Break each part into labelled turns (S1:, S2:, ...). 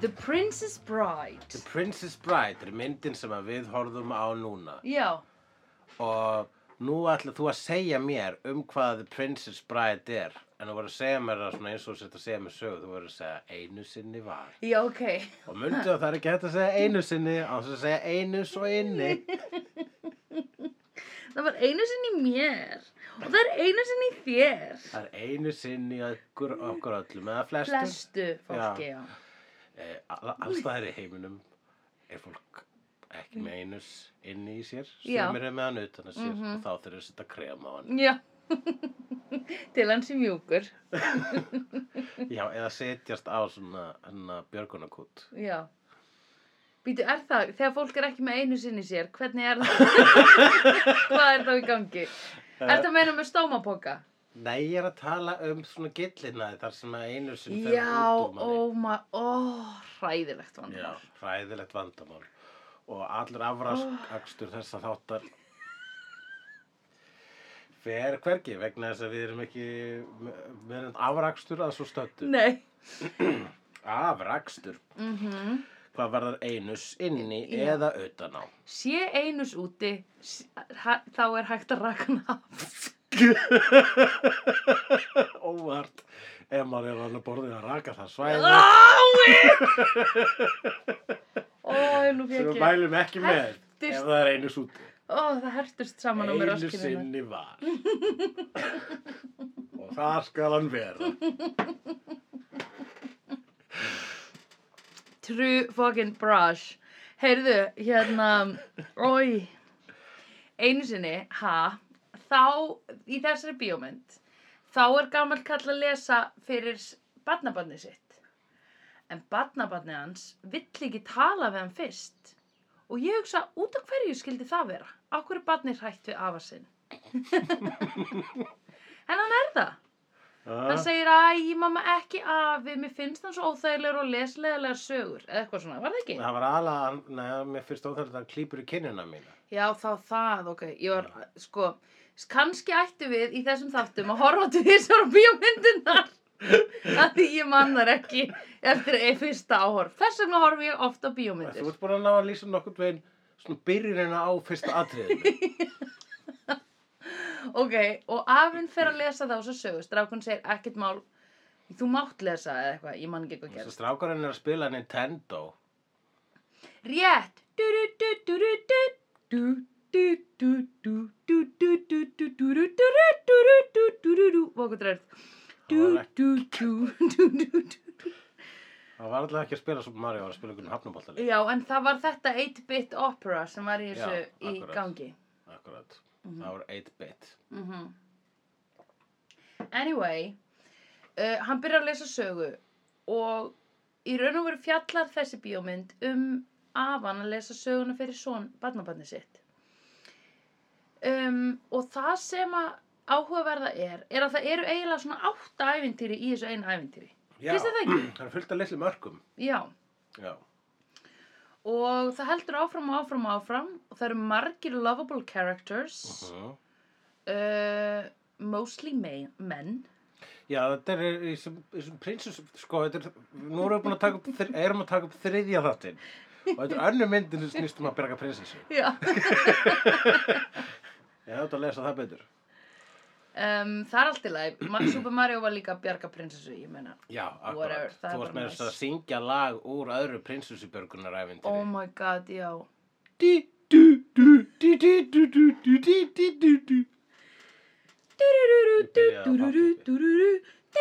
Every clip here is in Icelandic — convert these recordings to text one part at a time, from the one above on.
S1: The Princess Bride
S2: The Princess Bride er myndin sem að við horfum á núna
S1: Já,
S2: og nú ætla þú að segja mér um hvað The Princess Bride er en þú voru að segja mér það svona eins og þú sett að segja mér sögu þú voru að segja einu sinni var
S1: já, ok
S2: og myndu að það er ekki hægt að segja einu sinni á þess að segja einu svo inni
S1: Það var einu sinni í mér og það er einu sinni í þér
S2: það er einu sinni í okkur, okkur öllum eða flestum
S1: Flestu fólki, já,
S2: Eh, all- alls staðar í heiminum er fólk ekki með einus inni í sér
S1: Já.
S2: sem eru með hann utan að sér og þá þurfum við að setja krem á hann
S1: já. Til hans í mjúkur
S2: já, eða setjast á svona hennar björgunarkút
S1: Já. Býtu, er það, þegar fólk er ekki með einu sinni í sér, hvernig er það? Hvað er þá í gangi?
S2: Eh.
S1: Er það meina með stómapoka?
S2: nei, ég er að tala um svona gillinaði þar sem að einu sem fer
S1: Já,
S2: út úr manni
S1: ó, ma, ó, hræðilegt vann.
S2: já, hræðilegt vandamál og allur afrakstur þessa þáttar fer hvergi vegna þess að við erum ekki við erum afrakstur að svo stöttu
S1: Nei.
S2: afrakstur
S1: Mm
S2: hvað varðar einus inni
S1: Já.
S2: eða utan á
S1: Sé einus úti, s- ha, þá er hægt að raka hann af.
S2: óvart ef maður er alveg borðið að raka það svæði
S1: Ái! Ó, nú
S2: sem
S1: fyrir
S2: við
S1: ekki.
S2: mælum ekki með
S1: Hertist.
S2: ef það er einus úti
S1: Ó, það hertust saman á mér
S2: einu
S1: raskinnina.
S2: sinni var og það skal hann vera
S1: True fucking brush Heyrðu, hérna Ói Einu sinni, ha Þá, í þessari bíómynd Þá er gamall kall að lesa Fyrir badnabarni sitt En badnabarni hans Vill ekki tala við hann fyrst Og ég hugsa, út af hverju skildi það vera? Akkur er barnið hrætt við afa sinn En hann er það
S2: Ha? Ah.
S1: hann segir að ég mamma ekki afi mér finnst hann svo óþægilegur og leslegilegar sögur eða eitthvað svona, var það ekki?
S2: það var alveg, neða, mér fyrst óþærlega að klýpur í kinnina mína
S1: Já, þá það, ok, ég var, sko, kannski ættu við í þessum þáttum að horfa til þessar bíómyndunar að því ég mannar ekki eftir eða fyrsta áhorf þess vegna horfi ég ofta á
S2: þú
S1: bíómyndir
S2: ert búin að ná að lýsa nokkurn veginn svona byrjunina á fyrsta atriðinu
S1: ok, og afinn fer að lesa þá sem sögur, strákun segir ekkert mál þú mátt lesa eða eitthvað, ég man ekki eitthvað gerð
S2: þess að strákarinn er að spila Nintendo
S1: Rétt Vokundræð
S2: Það var alltaf ekki að spila Super Mario, það var að spila einhvern hafnaboltaleik.
S1: Já, en það var þetta 8-bit opera sem var í þessu
S2: Já,
S1: í
S2: akkurat.
S1: gangi
S2: Akkurat. Það var 8-bit.
S1: Mhm. Anyway uh, Hann byrjar að lesa sögu og í raun og veru fjallar þessi bíómynd um afan að lesa söguna fyrir svon barnabarni sitt um, og það sem að áhugaverða er, er að það eru eiginlega svona átta ævintýri í þessu einu ævintýri
S2: Já.
S1: Finnst þér það ekki?
S2: Það er fullt af litlu mörgum.
S1: Já,
S2: Já.
S1: og það heldur áfram og áfram og áfram og það eru margir lovable characters uh, mostly me menn
S2: Já, þetta er í sem, í sem prinsus, sko, þetta er, nú erum við búin að taka upp, þri, erum að taka upp þriðja þáttinn. Og þetta er önnu myndin sem snýstum að berga prinsessu.
S1: Já
S2: Ég átt að lesa það betur.
S1: Um, það er allt í lagi, Ma- Super Mario var líka að bjarga prinsessu, ég meina
S2: Já, akkurat.
S1: Whatever, það er
S2: Þú varst
S1: bara
S2: með þess að
S1: nice.
S2: syngja lag úr öðru prinsessubjörgunaræfindri.
S1: Oh my god, já
S2: Dí, dú, dú, dí, dí, dú, dú, dú, dí, dí, dú, dú. Ég byrjaði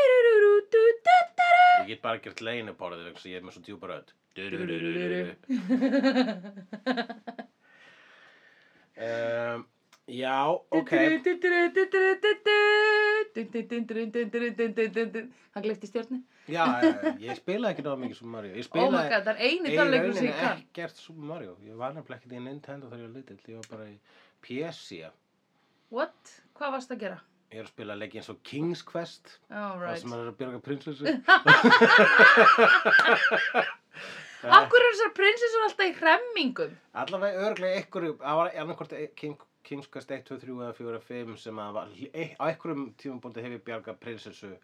S2: að fatta Ég get bara gert leinuborðið vegna þess að ég er með svo djúpa rödd. Um, já, ok.
S1: Hann gleypti stjörnu
S2: Já, ég spilaði ekki náða mikið Super Mario. Ég
S1: Oh my
S2: spilaði
S1: god, það er eini tannleikur sem ég kann
S2: ekkert Super Mario. Ég var nefnilega ekkert í Nintendo þegar ég var lítill. Ég var bara í PS. -ía.
S1: What? Hvað varst að gera?
S2: Ég er að spila leiki eins og King's Quest. Það
S1: Alright
S2: sem er að björga prinsessu.
S1: Akkur eru þessar prinsessur alltaf í hremmingum
S2: Allavega örglega ykkur, það var annarkvort King, King's Quest e- 1, 2, 3 eða 4 og 5 sem að var, á einhverjum tímabóndi hef ég bjarga prinsessu en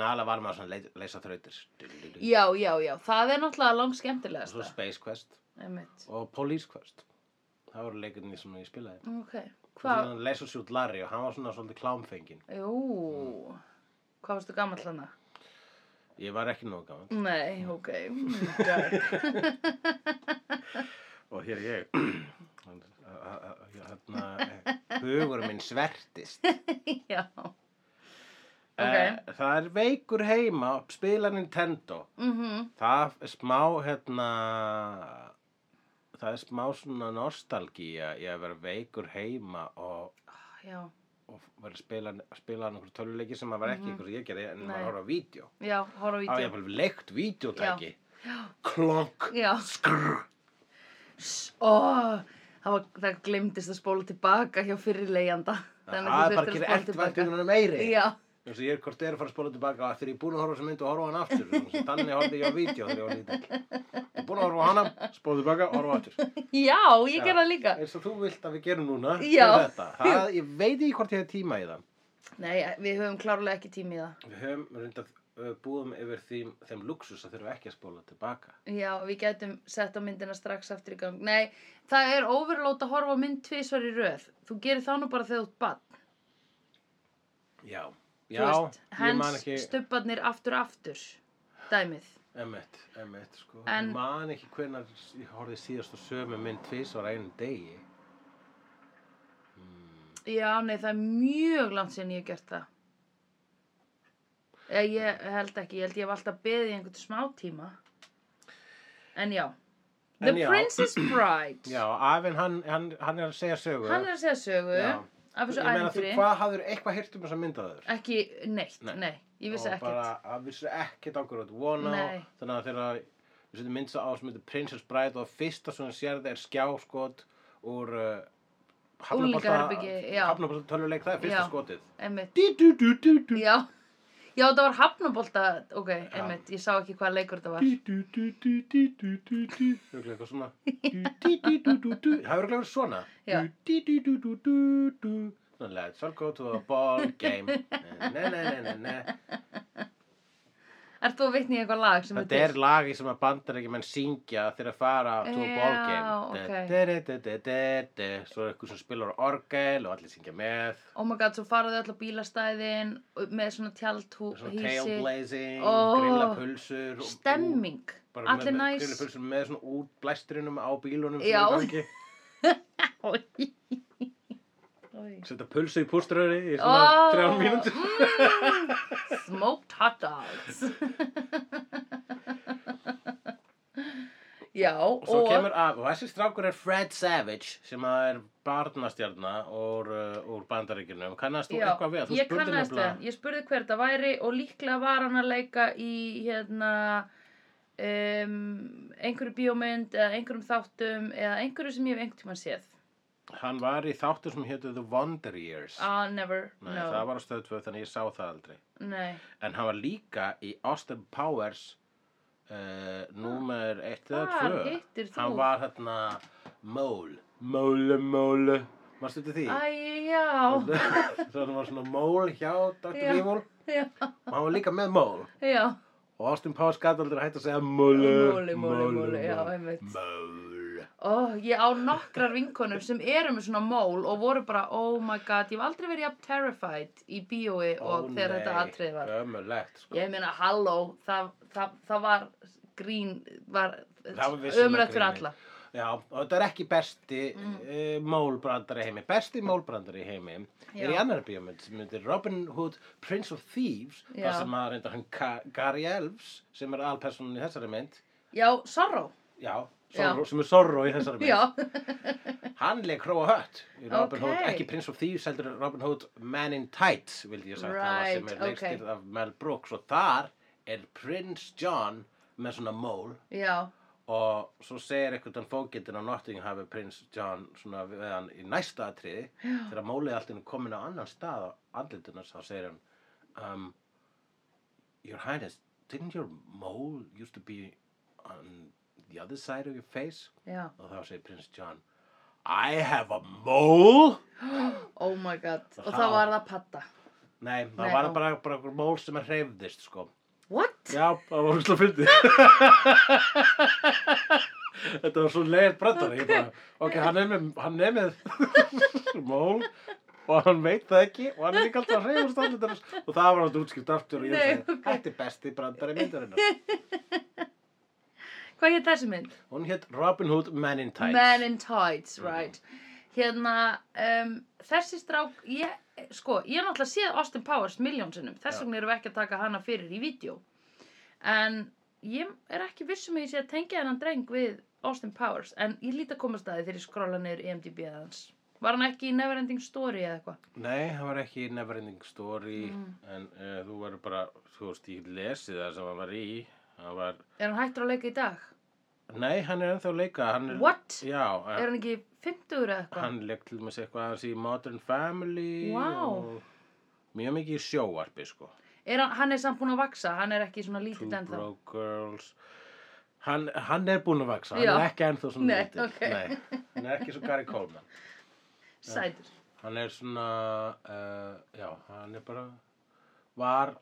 S2: en aðalega var maður svona að leit- leysa þrautir og
S1: Já, já, já, það er náttúrulega langt skemmtilegast
S2: svo Space Quest
S1: Einmitt.
S2: og Police Quest það voru leikurinn sem ég spilaði
S1: Ok,
S2: Hva?
S1: hvað,
S2: Leysa sjút Larry og hann var svona svolítið klámfengin
S1: jú, hvað varstu gammal hana?
S2: ég var ekki nóg gaman
S1: Nei, ok, ok.
S2: og hér er ég hérna hugur minn svertist
S1: já,
S2: Eh, það er veikur heima spila Nintendo
S1: mhm,
S2: það er smá hérna það er smá svona nostalgía í að vera veikur heima og,
S1: já,
S2: og vera að spila, spila einhver töluleiki sem að vera ekki einhver sem ég gerði en
S1: Mhm. Nei.
S2: maður horfa á vídeo
S1: já, horfa á
S2: á ég
S1: vídeo.
S2: bara leikt vídeotæki klonk
S1: Já.
S2: skrr
S1: Sss, Ó, það, var, það glemdist að spóla tilbaka hjá fyrirlegjanda.
S2: það er bara að gera eftirvæntingunum meiri
S1: Já,
S2: eins og ég er hvort er að fara að spóla tilbaka og þegar ég er búin að horfa á þessa mynd og horfa á hann aftur Svo þannig horfði ég á vídeo þegar ég var lítill ég er búin að horfa á hana, spóla tilbaka og horfa á aftur
S1: já, ég
S2: Já.
S1: gerði það líka.
S2: eins og þú vilt að við gerum núna
S1: Já.
S2: er þetta. það, ég veit ekki hvort ég hef tíma í það
S1: Nei, við höfum klárlega ekki tími í það.
S2: við höfum reynda búum yfir því, þeim luxus að þurfa ekki að spóla tilbaka
S1: Já, við getum sett á myndina strax aftur í gang. Nei, það er overlót að horfa á mynd tvisvar í röð. Þú gerir það nú bara þegar þú ert bann.
S2: já, já ég man
S1: hens
S2: ekki
S1: stubbarnir aftur aftur, dæmið.
S2: emitt, emitt sko.
S1: En-
S2: ég man ekki hvenar ég horfði síðast og sömu mynd tvís ára einu degi
S1: Já, nei, það er mjög langt sem ég hef gert það. Ég, ég held ekki, ég held ég hef alltaf beðið í einhvern smá tíma. En já, The
S2: En já.
S1: Princess Bride,
S2: já, afinn hann, hann, hann er að segja sögu
S1: hann er að segja sögu
S2: Já.
S1: af þessu
S2: ég meina þú,
S1: æfintýri.
S2: hvað hafður eitthvað hýrt um þessa mynd að þur
S1: Ekki neitt,
S2: Nei.
S1: nei, ég vissi
S2: og
S1: ekkert.
S2: bara að vissu ekkert okkur átt vona á
S1: Nei.
S2: þannig að þegar við setjum mynd á sem heitir Princess Bride og fyrsta sem hún sérði er skjáskot úr uh,
S1: Unglingaherbergi, já.
S2: hafnabolta töluleik það er fyrsta
S1: Já.
S2: skotið
S1: Einmitt,
S2: dí, dú, dú, dú, dú.
S1: já. Já, það var hafnabólta, ok, einmitt, ég sá ekki hvað leikur þetta var.
S2: Dí, dú, dú, dú, dú, dú, dú, dú. Það er örugglega eitthvað svona. Dú, dí, dú, dú, dú, dú.
S1: Já.
S2: Það er glæður svona Dú, dí, dú, dú, dú, dú, dú. Now Let's all go to a ball game Ne, ne, ne, ne, ne, ne
S1: Ert þú að vitna í eitthvað lag sem
S2: Þetta er lagi sem að bandar ekki menn syngja þegar að fara to a
S1: Já,
S2: ball game.
S1: ok.
S2: De-de-de-de-de-de. Svo er eitthvað sem spilar á orgel og allir syngja með.
S1: Oh my god, svo faraðu öll á bílastæðin með svona tjaldhú,
S2: Svona tail blazing,
S1: Ó.
S2: grilla pulsur. og-
S1: Stemming,
S2: og- bara
S1: allir
S2: með- með
S1: næs
S2: Grilla pulsur með svona út blæstrinum á bílunum sem
S1: Já.
S2: er í gangi.
S1: Oj.
S2: Setta pulsu í púströðri í svona
S1: Ó. Mm.
S2: þrjá mínútur.
S1: Smoked hot dogs Já,
S2: Og svo kemur af, og þessi strákur er Fred Savage sem að er barnastjarna úr, uh, úr bandaríkjunum. Kannast þú
S1: Já,
S2: eitthvað við? Þú
S1: ég
S2: spurðir
S1: kannast við
S2: nefnilega-
S1: hann, ég spurði hver þetta væri og líklega var hann að leika í hérna um, einhverju bíómynd eða einhverjum þáttum eða einhverju sem ég hef einhvern tímann séð
S2: Hann var í þáttu sem hétu The Wonder Years.
S1: Ah, never,
S2: Nei,
S1: no
S2: það var á stöðu 2 þannig ég sá það aldrei.
S1: Nei,
S2: En hann var líka í Austin Powers uh, númer 1 eða
S1: Hvar
S2: 2.
S1: hittir Ah, þú?
S2: Hann var hérna mól. Móle, móle. Varstu þetta því?
S1: æ, já
S2: Svo hann var svona mól hjá Dr.
S1: Já.
S2: Evil
S1: Já,
S2: og hann var líka með mól.
S1: já
S2: Og Austin Powers gæti aldrei hægt að segja móle,
S1: Móli, móli, móli, já, einmitt
S2: Mól.
S1: Ó, ég á nokkrar vinkonur sem eru með svona mól og voru bara, oh my god, ég hef aldrei verið jafn terrified í bíói og þegar þetta atrið var.
S2: Ömulegt, sko.
S1: Ég meina, halló, það, það, það var grín, var
S2: Það var vissulega
S1: ömulegt fyrir
S2: grínið.
S1: alla.
S2: Já, og þetta er ekki besti mm. mólbrandari í heimi. Besti mólbrandari í heimi
S1: Já.
S2: er í annar bíómynd sem myndir Robin Hood, Prince of Thieves,
S1: Já.
S2: þar sem að reyndar hann Ka- Gary Elves, sem er alpersonin í þessari mynd.
S1: Já, sorrow.
S2: Já, Zorro, sem er Zorro í þessari mynd.
S1: Já,
S2: Hann leik Króa Hött í
S1: Ok.
S2: Robin Hood, ekki Prince of Thieves, heldur Robin Hood Man in Tights, vildi ég sagt, það var sem
S1: Right,
S2: er leikstýrð af Mel Brooks. Og þar er Prince John með svona mól
S1: já,
S2: og svo segir einhvern þann fókildin að Nottingham hafi prins John svona við hann í næsta atriði þegar mólið allt er komin á annan stað á andlitunas þá segir hann um, Your Highness didn't your mole used to be on the other side of your face
S1: já.
S2: og þá segir prins John I have a mole
S1: Oh my god, og
S2: Það-
S1: það var það patta.
S2: Nei, það
S1: Nei,
S2: var
S1: ó.
S2: bara, bara einhver mól sem er hreyfðist, sko.
S1: What?
S2: Já, það var úrslega fyndið. Þetta var svo leiðið brandari. Ég bara, ok, hann er með, hann er með mól og hann veit það ekki og hann er líka alltaf að hreyfast allir og það var alltaf útskipt aftur og ég
S1: Nei,
S2: sagði,
S1: ok.
S2: þetta er besti brandari myndarinnar.
S1: Hvað hétt þessi mynd?
S2: Hún hétt Robin Hood Men in Tights. Mhm.
S1: Men in Tights, right. Hérna, um, þessi strák, ég, sko, ég hef náttúrulega séð Austin Powers miljónsinnum, þess
S2: Já.
S1: vegna erum við ekki að taka hana fyrir í vídeo. En ég er ekki vissum að ég sé að tengja hennan dreng við Austin Powers, en ég líti að koma staði þegar ég skrolla niður IMDb að hans. Var hann ekki í Neverending Story eða eitthvað?
S2: Nei, það var ekki Neverending Story
S1: Mm.
S2: en uh, þú var bara, þú veist, ég lesið það sem hann var í. Hann var,
S1: Er hann hættur að leika í dag?
S2: nei, hann er ennþá að leika. hann Er,
S1: What?
S2: Já, en-
S1: Er hann ekki 50 eða eitthvað?
S2: hann leik til með eitthvað aðeins í Modern Family
S1: Vá.
S2: og mjög mikið í sjóvarpi sko
S1: Er hann, hann er samt búinn að vaksa, hann er ekki svona
S2: Two
S1: lítill ennþá.
S2: Broke Girls hann, hann er búinn að vaksa, hann
S1: Já.
S2: er ekki ennþá svona
S1: Nei,
S2: lítill.
S1: ok.
S2: Nei, hann er ekki svo Gary Coleman
S1: Sætur.
S2: hann er svona uh, já, hann er bara var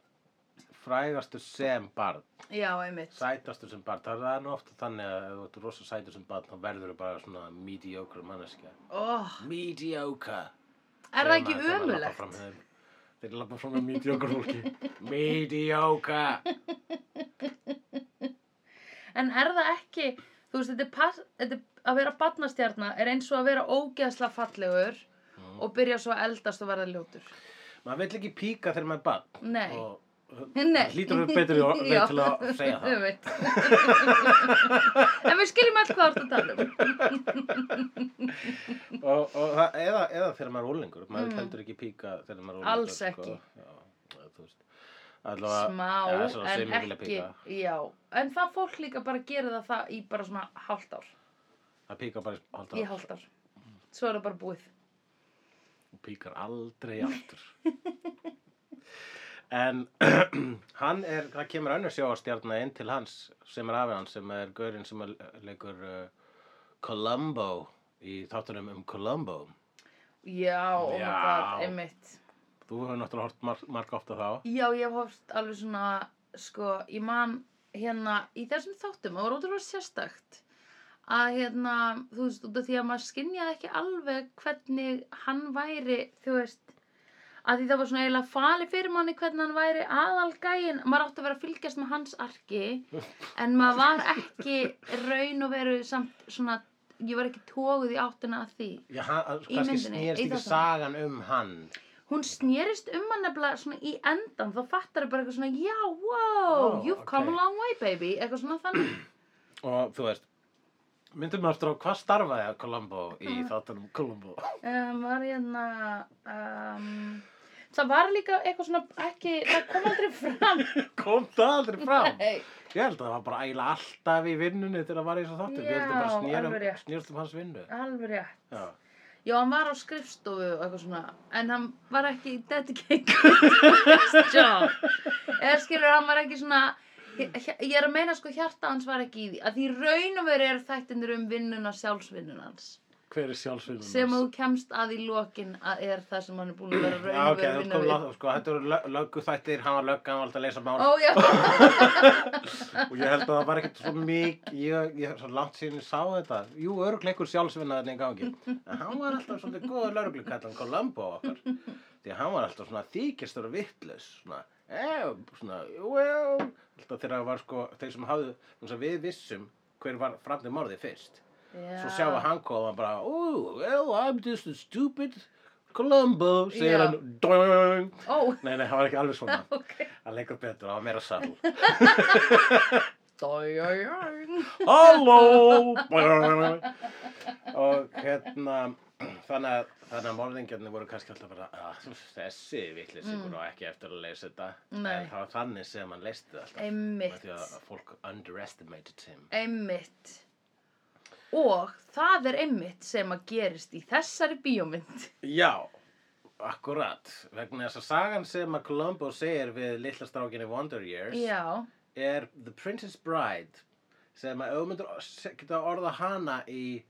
S2: frægastur sem barn
S1: Já, einmitt.
S2: sætastur sem barn, það er nú ofta þannig að ef þú ert rosa sætur sem barn þá verður þú bara svona mediocre manneskja
S1: Oh,
S2: mediocre
S1: er það ekki
S2: Þegar maður
S1: ömulegt?
S2: labbar fram hjá þeim. Þeir lappa fram með mediocre fólki. mediocre!
S1: En er það ekki, þú veist, þetta er, pass, þetta er að vera barnastjarnar er eins og að vera ógeðsla fallegur og byrja svo að eldast og verða ljótur.
S2: Maður vill ekki píka þegar maður er barn.
S1: Nei.
S2: Og
S1: Nei.
S2: hlýtur þú betur í orð
S1: Já.
S2: til að segja
S1: Þú
S2: það.
S1: veit. en við skiljum allt hvað þú ert að tala um.
S2: Og, og það, eða, eða þegar maður er ólingur. Maður
S1: Mm.
S2: vill heldur ekki píka þegar maður er ólingur.
S1: Alls ekki.
S2: Já, þú veist. Allavega, ja,
S1: Smá,
S2: svona
S1: en
S2: sem ég vilja
S1: ekki,
S2: píka.
S1: já. En það fólk líka bara gerir það það í bara svona hálft ár,
S2: Það píkar bara í hálft
S1: í
S2: ár.
S1: hálft ár. Svo er það bara búið.
S2: Hún píkar aldrei aftur. En hann er, það kemur önnur sjóastjarna inn til hans sem er afið hans sem er gaurinn sem er, leikur uh, Columbo í þáttunum um Columbo.
S1: Já, oh my
S2: Já.
S1: god, einmitt.
S2: Þú hefur náttúrulega hort marg, marg ofta þá.
S1: Já, ég hef hóft alveg svona, sko, ég man hérna í þessum þáttum, það var ótrúlega sérstakt að hérna, þú veist, út af því að maður skynjaði ekki alveg hvernig hann væri, þú veist, að því það var svona eiginlega fali fyrir manni hvernig hann væri aðalgæin, maður átti að vera að fylgjast með hans arki, en maður var ekki raun og veru samt svona, ég var ekki tóguð í áttina að því.
S2: Já, hann,
S1: Í
S2: kannski
S1: myndinni,
S2: snýrst
S1: í
S2: ekki
S1: þáttunum.
S2: sagan um hann.
S1: hún snerist um hann nefnilega svona í endan þá fattar þau bara eitthvað svona já,
S2: Ó,
S1: wow, you've come
S2: ok.
S1: a long way baby eitthvað svona þannig
S2: Og þú veist, myndum við aftur á hvað starfaði Columbo í
S1: Mm.
S2: þáttunum Columbo?
S1: um, var hérna um, það var líka eitthvað svona ekki, það kom aldrei fram
S2: Kom það aldrei fram?
S1: hey,
S2: Ég held að það var bara ægilega alltaf í vinnunni þegar það var í þessu þáttum. Ég held að
S1: Já,
S2: bara
S1: alveg
S2: snérum,
S1: rétt.
S2: snérst um hans vinnu.
S1: alveg rétt
S2: Já.
S1: já, hann var á skrifstofu og eitthvað svona en hann var ekki dedicated to his job eða skilur, hann var ekki svona ég, ég er að meina sko hjarta hans var ekki í því að því raun og veru er þættinir um vinnuna sjálfsvinnun hans
S2: Hver er sjálfsvinnum?
S1: sem þú kemst að í lokin að er það sem hann er búin að vera raun
S2: Já,
S1: og
S2: ok,
S1: vera að
S2: þú
S1: vinna
S2: kom
S1: við.
S2: látt, sko, þetta eru lö- lögguþættir, hann var lögga, hann var alltaf að leysa mál
S1: Ó já,
S2: og ég held að það var ekkert svo mikið, ég, ég, svo langt síðan ég sá þetta, jú, örgleikur sjálfsvinnaðin í gangi, en hann var alltaf svolítið góða lögleikallan Columbo okkar, því að hann var alltaf svona þykistur og vittlaus, svona, eh, svona, well, alltaf þegar það var sko, þeir sem hafðu, þannig að við vissum hver var framni morðið fyrst,
S1: já.
S2: Svo sjá að hann kom hann bara, oh, well, I'm just a stupid Columbo, segir
S1: Já.
S2: hann, doing.
S1: Ó,
S2: Nei, nei, það var ekki alveg svona.
S1: ok
S2: Það leikur betur, það var meira sall.
S1: Dæjæjæj
S2: Halló! Og hérna, þannig að, þannig að morðingjarnir voru kannski alltaf bara, ah, þessi vittlisingur og ekki eftir að leysa þetta.
S1: Mm. Nei.
S2: En það var þannig sem hann leysti það alltaf.
S1: Einmitt,
S2: Því að fólk underestimated him.
S1: einmitt Og það er einmitt sem að gerist í þessari bíómynd
S2: Já, akkurat. Vegna þess að sagan sem að Columbo segir við litla strákinni Wonder Years
S1: Já,
S2: er The Princess Bride sem að auðmyndur geta orða hana í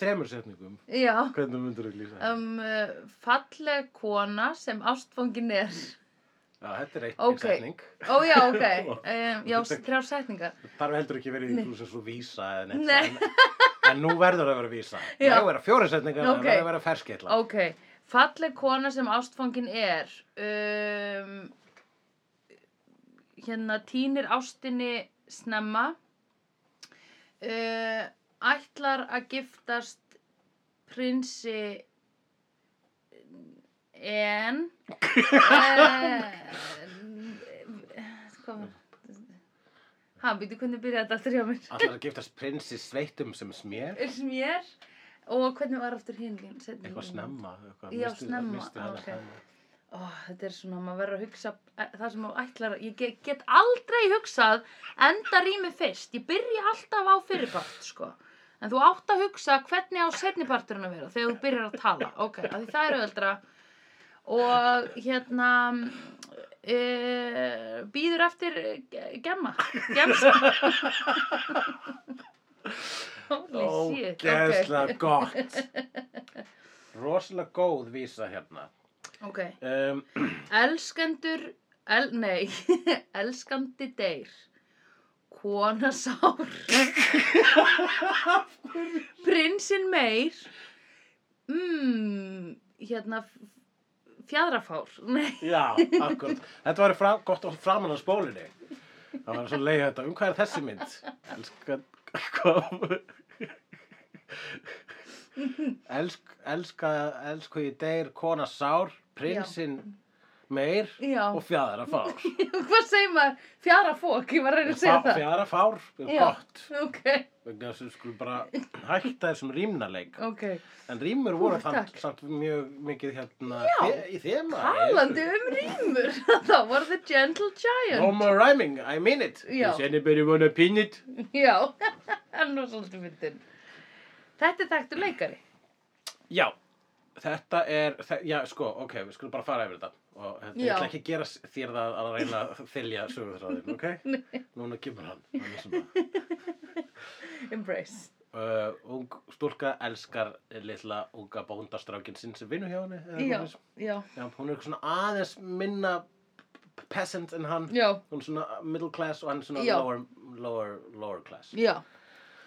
S2: þremur setningum
S1: já
S2: hvernig myndur þú lýsa um,
S1: um, uh, falleg kona sem ástfóngin er
S2: já, þetta er eitt
S1: ok.
S2: setning
S1: ó já ok um, já þrjá setningar
S2: þarf heldur ekki verið
S1: Nei.
S2: í þú sem svo vísa eða neitt
S1: Nei.
S2: en, en nú verður það að vera vísa
S1: Já.
S2: það verður fjóri setningar
S1: Ok.
S2: það verður að vera ferskitla
S1: ok falleg kona sem ástfóngin er um, hérna tínir ástinni snemma uh, ætlar að giftast prinsi en eh, uh, hvað var hann býti hvernig byrjaði þetta aftur hjá mér
S2: allar að giftast prinsi sveittum sem smér
S1: smér og hvernig var aftur hinn
S2: eitthvað snemma eitthvað,
S1: Mm. Já,
S2: missti-
S1: snemma,
S2: missti hana
S1: ok.
S2: snemma.
S1: Ó, þetta er svona, maður verður að hugsa eh, það sem maður ætlar, ég get, get aldrei hugsað enda rými fyrst, ég byrja alltaf á fyrirpart, sko. En þú átt að hugsa hvernig á setniparturinn að vera þegar þú byrjar að tala, ok, af því það eru öldra. Og hérna, e, býður eftir eh, gemma, gemsa. Holy shit,
S2: Ógeðslega gott Rosalega góð vísa hérna
S1: ok. Ok,
S2: um,
S1: Elskendur, el, nei, elskandi deyr, kona sár, prinsinn meir, mm, hérna, f- fjadrafár, nei,
S2: Já, akkurat Þetta var fra, gott og framan á spólinni Það var svo leið þetta Um hvað er þessi mynd? Elskan Hvað Elsk, elska, elsku ég deyr Kona sár, prinsinn Meir
S1: já,
S2: og fjadra fár
S1: hvað segir maður, fjadrafók, ég var að reyna að segja það.
S2: Fjadra fár er
S1: Já.
S2: gott
S1: Ok,
S2: vegna þess að við skulum bara hætta þessum rýmnaleik
S1: ok,
S2: en rýmur
S1: Ú,
S2: voru þann,
S1: takk.
S2: samt mjög mikið hérna
S1: Já.
S2: þe- í þema
S1: talandi um rýmur, þá var the gentle
S2: No
S1: giant,
S2: more rhyming, I mean it
S1: Já.
S2: Is anybody wanna pin it?
S1: já, hann var svolítið myndin. Þetta er þekktur leikari.
S2: Já, þetta er þe- já, sko, ok, við skulum bara fara yfir þetta og hérna, ég
S1: Já.
S2: ætla ekki að gera s- þér það að reyna að þylja sögurþráðin, ok? Nei. Núna kemur hann hann er sem að-
S1: Embrace.
S2: Uh, ung stúlka elskar litla unga bóndastrákin sinn sem vinnu hjá henni eða eitthvað
S1: Já,
S2: svoleiðis.
S1: já,
S2: Já, hún er eitthvað svona aðeins minna p- peasant en hann.
S1: já,
S2: Hún er svona middle class og hann er svona
S1: Já.
S2: lower, lower, lower class.
S1: já,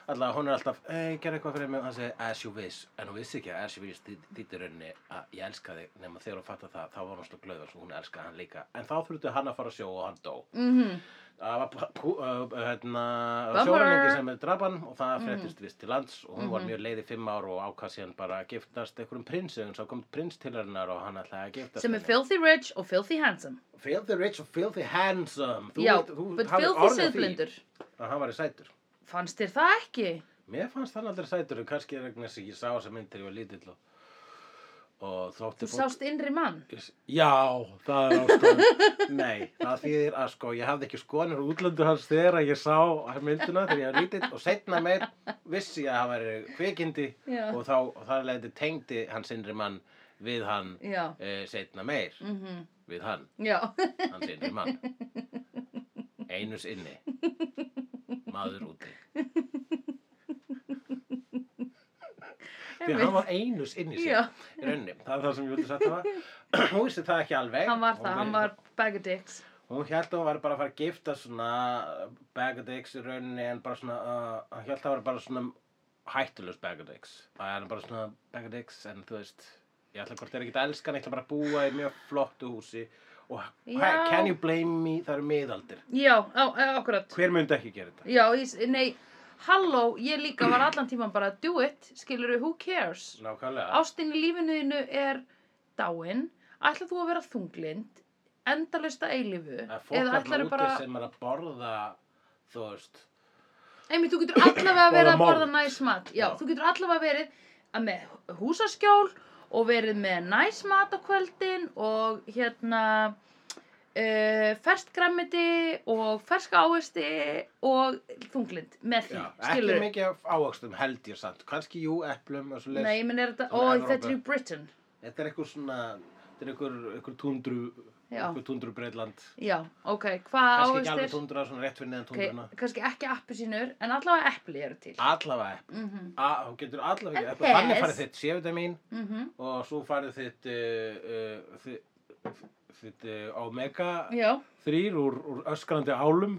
S2: Alltaf hún er alltaf, ei, gerð eitthvað fyrir mig og hann segir, as you wish. En hún vissi ekki að as you wish þýtti rauninni að ég elska þig nema þegar hún fattar það, þá var hún slúk glöður svo hún elskaði hann líka. En þá þurfti hann að fara að sjó og hann dó.
S1: mhm,
S2: Það var p- p- uh, hérna,
S1: Bummer. Mm.
S2: sjóraningi sem er drapan og það fréttist vist til lands og hún var
S1: Mhm.
S2: mjög leið í fimm ár og ákast síðan bara að giftast einhverjum prinsi en svo kom prins til hennar og hann ætlaði að giftast
S1: sem er
S2: henni.
S1: filthy rich og filthy handsome.
S2: Filthy rich og filthy handsome Þú
S1: já,
S2: vilt- þú
S1: but
S2: hafir
S1: filthy
S2: orð á því
S1: siðblindur.
S2: Að hann var í sætur
S1: Fannst þér það ekki?
S2: Mér fannst hann aldrei sætur en kannski er vegna þess að ég sá þessa mynd þegar ég var lítill og, og þótti
S1: Þú sást innri mann.
S2: Já, það er ástæðan Nei, það þýðir að sko ég hafði ekki skonur úr útlöndu hans þegar að ég sá mynduna þegar ég var lítill og setna meir vissi ég að hann væri kvikindi
S1: Já.
S2: og þá, og þar leiti tengdi hans innri mann við hann
S1: Já,
S2: e, setna meir
S1: mhm,
S2: við hann
S1: já,
S2: hans innri mann einus inni maður úti því að hann var einus inni sér
S1: já,
S2: í rauninni, það er það sem ég vildi sagt það hún vissi það ekki alveg
S1: hann var það,
S2: hún,
S1: hann var bag of dicks.
S2: hún held að hún var bara að fara að gifta svona bagadix í rauninni en bara svona, uh, hann held að það var bara svona hættulegs bagadix það er bara svona bagadix en þú veist ég ætla hvort þeir ekki að elska hann, ég ætla bara að búa í mjög flottu húsi og
S1: Já.
S2: can you blame me, það eru miðaldir
S1: Já, á, á- akkurat.
S2: Hver myndi ekki gera þetta?
S1: Já, ég, s- nei, halló, ég líka var allan tíman bara do it, skilur who cares?
S2: Nákvæmlega.
S1: Ástin í lífinuðinu er dáin, ætlar þú að vera þunglind, endalausta eilifu,
S2: Það er fólk alltaf úti sem er að borða, þú veist,
S1: Einmitt, þú getur allavega verið að
S2: Borða mold.
S1: borða næs mat. Já,
S2: Já.
S1: þú getur allavega verið að með húsaskjól og verið með næs mat á kvöldin og hérna uh, fersk grammiti og ferska ávisti og þunglind með því,
S2: já, ekki
S1: skilur.
S2: mikið af ávöxtum held ég samt, kannski jú, eplum og svo
S1: Nei, menn er þetta,
S2: Svona
S1: ó, þetta
S2: Evrópu.
S1: er í Britain.
S2: Þetta er eitthvað svona, þetta er eitthvað, eitthvað tundru
S1: Já.
S2: okkur tundur Breitland
S1: Já, ok, hvað
S2: kannski ekki alveg
S1: ávextir?
S2: tundra, svona rétt fyrir neðan tundruna
S1: Ok, kannski ekki appelsínur, en allavega epli eru
S2: Ah.
S1: til.
S2: allavega epli
S1: Mhm, mhm.
S2: A- þú getur allavega
S1: En
S2: ekki epli þannig
S1: pes.
S2: farið þitt C-vitamin
S1: mhm.
S2: og svo farið þitt uh, uh, þitt, þitt uh, omega
S1: Já,
S2: þrýr úr, úr öskrandi álum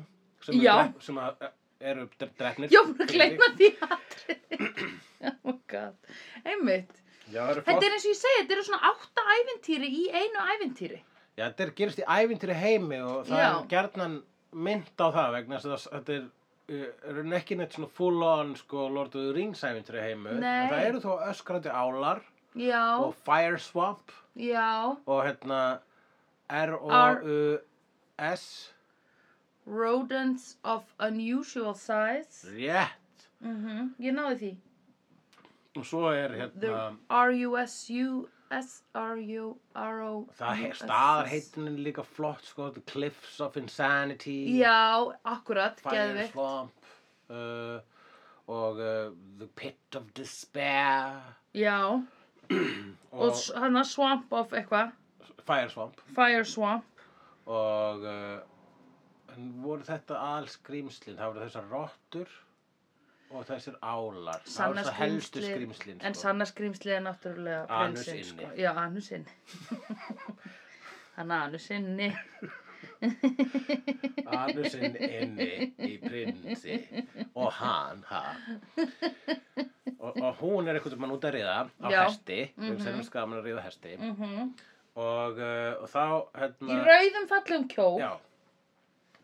S2: sem,
S1: Já.
S2: er, drep- sem að, eh, eru dre- drefnir
S1: já, búin að gleyma því aðri. oh my god, einmitt.
S2: Já, það eru
S1: Þetta
S2: flott.
S1: er eins og ég segi, þetta eru svona átta ævintýri í einu ævintýri.
S2: Já, þetta er gerist í ævintýri heimi og það
S1: Já.
S2: er gjarnan mynd á það vegna þess að það- þetta er uh, er ekki neitt svona full on sko Lord of the Rings ævintýri heimu
S1: Nei.
S2: en það eru þó öskrandi álar
S1: Já,
S2: og Fire Swamp
S1: já,
S2: og hérna R-O-U-S
S1: rodents of unusual size.
S2: rétt
S1: Mm Ég náði því.
S2: og svo er
S1: The
S2: hérna
S1: R-U-S-U-S-R-U-R-O
S2: það he- staðarheitinin er líka flott sko The Cliffs of Insanity
S1: Já, akkurat,
S2: Fire
S1: geðvikt
S2: Swamp uh, og uh, The Pit of Despair
S1: Já, og
S2: og,
S1: hann að swamp of eitthvað
S2: Fire Swamp
S1: Fire swamp
S2: og uh, en voru þetta alskrimslin það voru þessar rottur og þessir álar það voru
S1: Sanna
S2: þessar helstu sko.
S1: skrímslin,
S2: skrimslin
S1: En sanna skrýmslið er náttúrulega
S2: Anus
S1: prinsinn,
S2: inni.
S1: sko. Já, anus inni Hann anus inni
S2: anusinn inni í prinsi og hann ha. og, og hún er eitthvað mann út að riða á
S1: Já. Mhm.
S2: hesti mm -hmm. sem er skaman að riða hesti
S1: mm
S2: og, uh, og þá
S1: Í
S2: hérna,
S1: rauðum fallum kjól
S2: já,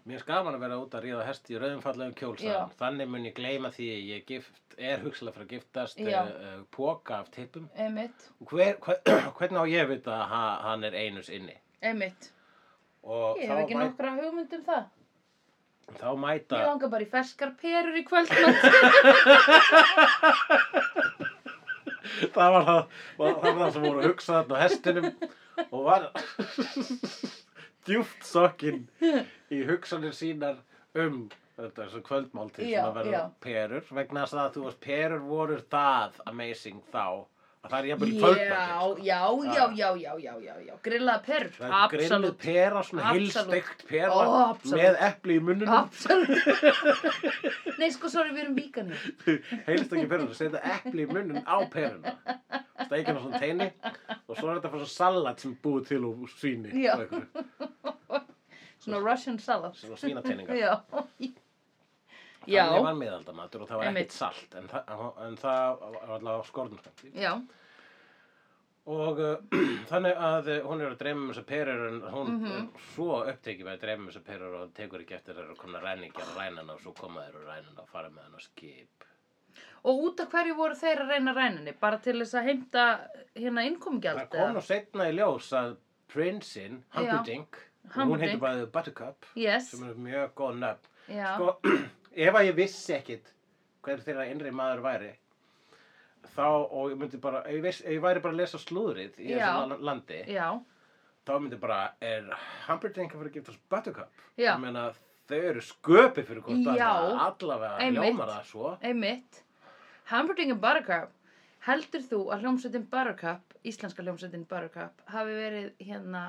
S2: mér er skaman að vera út að riða hesti í rauðum fallegum kjól sagði
S1: Já.
S2: hann. þannig mun ég gleyma því að ég gift, er hugsalega fyrir að giftast
S1: Já.
S2: uh, uh, póka af tippum
S1: Einmitt,
S2: og hver, hver, hvernig á ég að vita að ha- hann er einus inni
S1: einmitt
S2: og
S1: Ég
S2: þá,
S1: hef ekki
S2: mæ,
S1: nokkra hugmynd um það
S2: þá mæta
S1: Ég langar bara í ferskar perur í kvöldmatt
S2: það var það, var, það, var það sem voru að hugsa þarna á hestinum og var djúpt sokkinn í hugsanir sínar um þetta er svo kvöldmáltíð
S1: Já,
S2: sem að verða
S1: já.
S2: perur vegna þess að þú veist perur voru það amazing þá að það er jafnvel í
S1: Já,
S2: kvöldmáltíð
S1: já, já, já, já, já, já, já Grillaða perur,
S2: Það er grilluð
S1: absolutt
S2: pera, svona
S1: Absolutt.
S2: heilsteikt pera
S1: Ó, absolutt.
S2: með epli í munnum,
S1: Absolutt Nei, sko, sorry, við erum víkanir
S2: heilstekki peruna, setja epli í munnum á peruna, steikja hana svona teini og svo er þetta fyrir svona salat sem er búið til úr svíni
S1: Já.
S2: og einhverju.
S1: Svona Russian salad
S2: sem var svínateiningar
S1: Já
S2: þannig
S1: Já,
S2: var miðaldamatur og það var
S1: Einmitt.
S2: ekkert salt en, það, en það var allavega skornum
S1: já,
S2: og uh, þannig að uh, hún er að dreyma um þessar perur en hún mm
S1: Mhm.
S2: svo upptekið með að dreyma um þessar perur og tekur ekki eftir þeirra komna ræningjar og rænana og svo koma þeir og rænana og fara með hann á skip
S1: og út af hverju voru þeir að reyna ræninni? Bara til þess að heimta hérna innkomgjald?
S2: það kom nú setna í ljós að prinsinn, Humperdinck og hún heitir
S1: Humperdinck.
S2: bara Buttercup
S1: Yes,
S2: sko. sem er mjög góð nöfn
S1: já,
S2: sko, ef að ég vissi ekkit hver þeirra innri maður væri þá, og ég myndi bara ef ég, viss, ef ég væri bara að lesa slúðrið í
S1: Já.
S2: þessu la- landi,
S1: já,
S2: þá myndi bara er Humperdinck að fara að gifta þessu Buttercup
S1: Já.
S2: ég meina, þau eru sköpi fyrir hvort
S1: Já.
S2: annað, allavega
S1: Einmitt.
S2: hljómar það svo
S1: einmitt Hamburging and Buttercup Heldur þú að hljómsveitin Buttercup, íslenska hljómsveitin Buttercup hafi verið hérna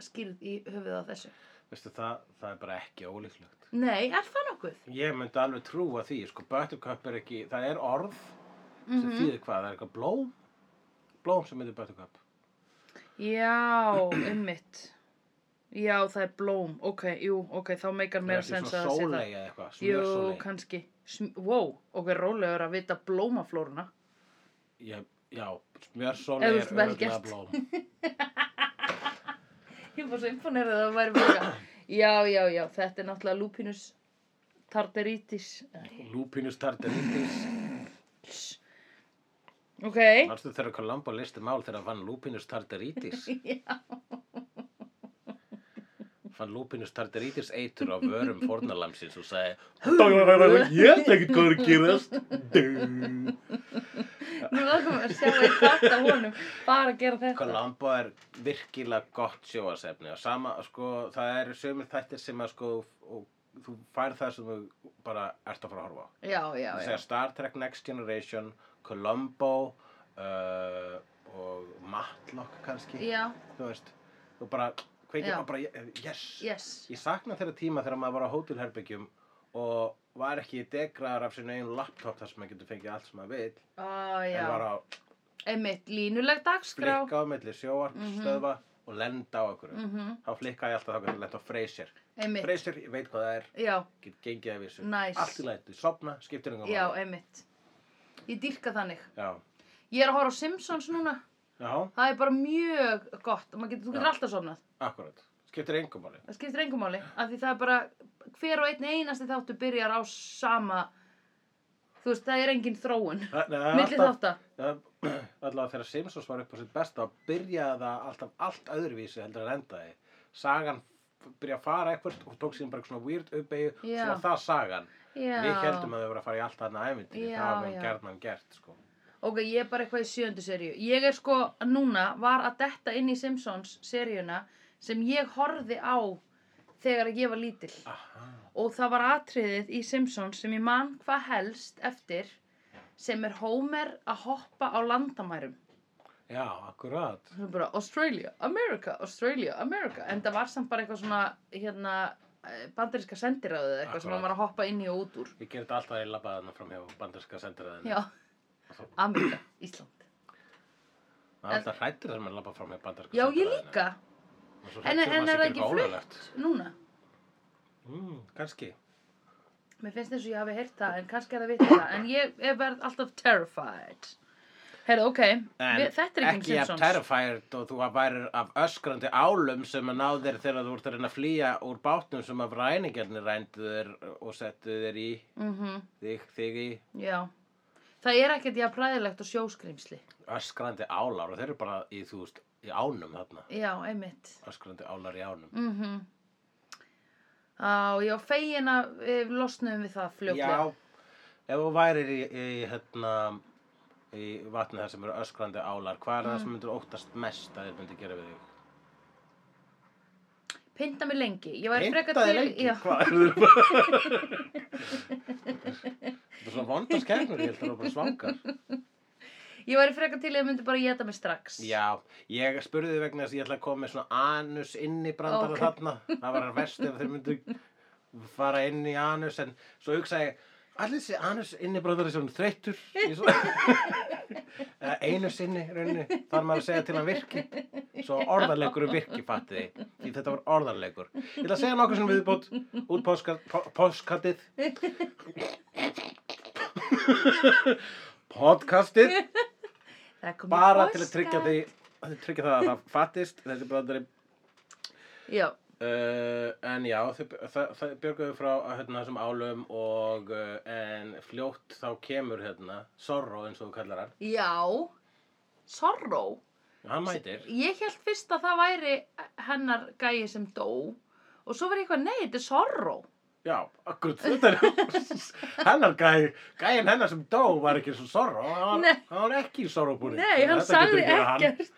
S1: skýrð í höfuð á þessu?
S2: Veistu, það, það er bara ekki ólíklegt
S1: Nei, er það nokkuð?
S2: ég myndi alveg trúa því, sko, Buttercup er ekki það er orð sem
S1: Mhm.
S2: þýðir hvað, það er eitthvað blóm blóm sem myndi Buttercup
S1: Já, einmitt Já, það er blóm, ok, jú, ok, þá meikar
S2: það er
S1: meira
S2: ekki
S1: sens að það sé
S2: svona
S1: það
S2: sólei eða eitthvað,
S1: Jú,
S2: smjörsólei
S1: kannski. Sm wow, ok, rólegur að vita blómaflóruna.
S2: Ég, já, smjörsóli
S1: Ef þú
S2: er
S1: ert vel
S2: öruglega
S1: gert.
S2: blóm.
S1: Ég var svo imponerað að það væri mjög. Já, já, já, þetta er náttúrulega lupinus tartaritis.
S2: Lupinus tartaritis.
S1: Ok,
S2: Manstu þegar hvað lamba listi mál þegar hann fann lupinus tartaritis?
S1: já,
S2: Fann lupinus tartaritis eitur á vörum fornalamsins og sagði Ég veit ekkert hvað er að gerast. Dú.
S1: nú langar maður að sjá eitt þátt af honum bara að gera þetta.
S2: Hvað lamba er virkilega gott sjóasefni og sama, sko, það eru sömur þættir sem að, sko, og, þú fær það sem þú bara ert að fara að horfa á.
S1: Já, já,
S2: Það
S1: já.
S2: segja Star Trek Next Generation, Columbo uh, og Matlock kannski,
S1: Já,
S2: þú veist, þú bara kveikja
S1: Já.
S2: og bara, yes.
S1: yes,
S2: Ég sakna þeirra tíma þegar maður var á hótelherbyggjum og var ekki degraður af sinu einu laptop þar sem maður getur fengið allt sem maður vil.
S1: á
S2: En var
S1: já,
S2: á
S1: einmitt línuleg dagskrá,
S2: flikka á milli sjóarpstöðva og lenda á okkur.
S1: mhm,
S2: Þá flikkaði ég alltaf þá að lenda á Freyser.
S1: einmitt,
S2: Freyser, ég veit hvað það er,
S1: já,
S2: get gengið af þessu.
S1: Nice.
S2: Allt í lætu, sopna, skiptir engum
S1: já, einmitt. Ég dýrka þannig.
S2: Já.
S1: Ég er að horfa á Simpsons núna.
S2: Já,
S1: Það er bara mjög gott. og maður Getur, þú getur
S2: Já.
S1: alltaf sofnað.
S2: akkurat. Skiptir engum máli.
S1: Það skiptir engum máli. Af því það er bara, hver og einn einasti þáttu byrjar á sama, þú veist, það er engin þróun.
S2: Það- nei,
S1: Milli
S2: alltaf-
S1: þátta.
S2: það- Allavega þegar Simpsons var upp á sitt besta þá byrjaði það alltaf allt öðruvísi heldur en endaði. Sagan f- byrjaði að fara eitthvað og tók síðan bara eitthvað svona weird uppeyju og
S1: Já.
S2: svo var það sagan.
S1: Já.
S2: Við heldum að þau voru að fara í allt þarna æfintinni.
S1: Já,
S2: Það var meðan
S1: já.
S2: gerðnan gert, sko.
S1: Ok, ég er bara eitthvað í sjöndu seríu. Ég er sko, núna, var að detta inn í Simpsons seríuna sem ég horfði á þegar ég var lítill.
S2: Aha.
S1: Og það var atriðið í Simpsons sem ég man hvað helst eftir sem er Homer að hoppa á landamærum.
S2: Já, akkurat.
S1: Það er bara Australia, America, Australia, America. En það var samt bara eitthvað svona, hérna, eh, bandaríska sendiráðið eða eitthvað sem
S2: Akkúrat.
S1: maður var að hoppa inn í og út úr.
S2: Ég gerði þetta alltaf að ég labbaði þarna fram hjá bandarska sendiræðinu.
S1: Já, Amerika, Ísland.
S2: Það er alltaf hrættur þegar maður labbaði fram hjá bandarska
S1: Já, ég
S2: sendiræðinu.
S1: líka.
S2: Og svo
S1: En, en
S2: hræddur maður sé
S1: er það
S2: gera
S1: ekki
S2: eitthvað
S1: flutt
S2: ólöglegt.
S1: núna?
S2: Mm, kannski.
S1: Mér finnst eins og ég hafi heyrt það, en kannski er það vitið það. En ég, ég verð alltaf terrified. Heyrðu, ok,
S2: En
S1: við, þetta er ekki um
S2: ekki jafn
S1: Simpsons.
S2: terrified og þú að væri af öskrandi álum sem að náð þér þegar þú ert að reyna að flýja úr bátnum sem af ræningarnir rændu þér og settu þér í
S1: Mhm,
S2: þig, þig í
S1: já. Það er ekkert jafn præðilegt og sjóskrimsli.
S2: öskrandi álar og þeir eru bara í, þú veist, í ánum þarna
S1: Já, einmitt.
S2: öskrandi álar í ánum
S1: Mhm. Á, já, fegin að við losnum við það fljóklega.
S2: Já, ef þú værir í, í hérna í vatni þar sem eru öskrandi álar hvað er það sem myndur óttast mest að þeir myndir gera við þig?
S1: Pinda mig lengi. Ég væri frekar
S2: Heimtaði
S1: til...
S2: lengi,
S1: Já,
S2: hvað er þér bara? Þetta er svona vondaskegnur, ég held að það er bara svangar.
S1: ég væri frekar til að ég myndi bara geta mig strax.
S2: Já, ég spurði þið vegna þess að ég ætla að koma með svona anus inn í brandara
S1: Ókei.
S2: þarna. Það var verst ef þeir myndu fara inn í anus en svo hugsaði ég, allir þessi anus inn í brandara er svona þreyttur. í Svo... Eða einu sinni, rauninni, þar maður að segja til hann virki. Svo orðarleikur um virki, fatti þið. Því þetta var orðarleikur. Ég ætla að segja nokkuð sem viðbót út póska, po, póskatið. Podcastið
S1: Það er komið
S2: bara
S1: podcast.
S2: til að tryggja því að tryggja það að það fattist þessi brandari
S1: Já,
S2: uh, en já, þau, það, það björguðu frá hérna, þessum álum og uh, en fljótt þá kemur hérna, Sorro eins og þú kallar hann
S1: já. Sorrow.
S2: hann mætir
S1: Ég held fyrst að það væri hennar gæi sem dó. Og svo var ég eitthvað, nei, þetta er Sorrow.
S2: já, akkurat þetta er hennar gæ gæin hennar sem dó var ekki svo Sorro hann,
S1: Nei.
S2: hann var ekki í Sorro búin
S1: Nei, hann sagði ekkert.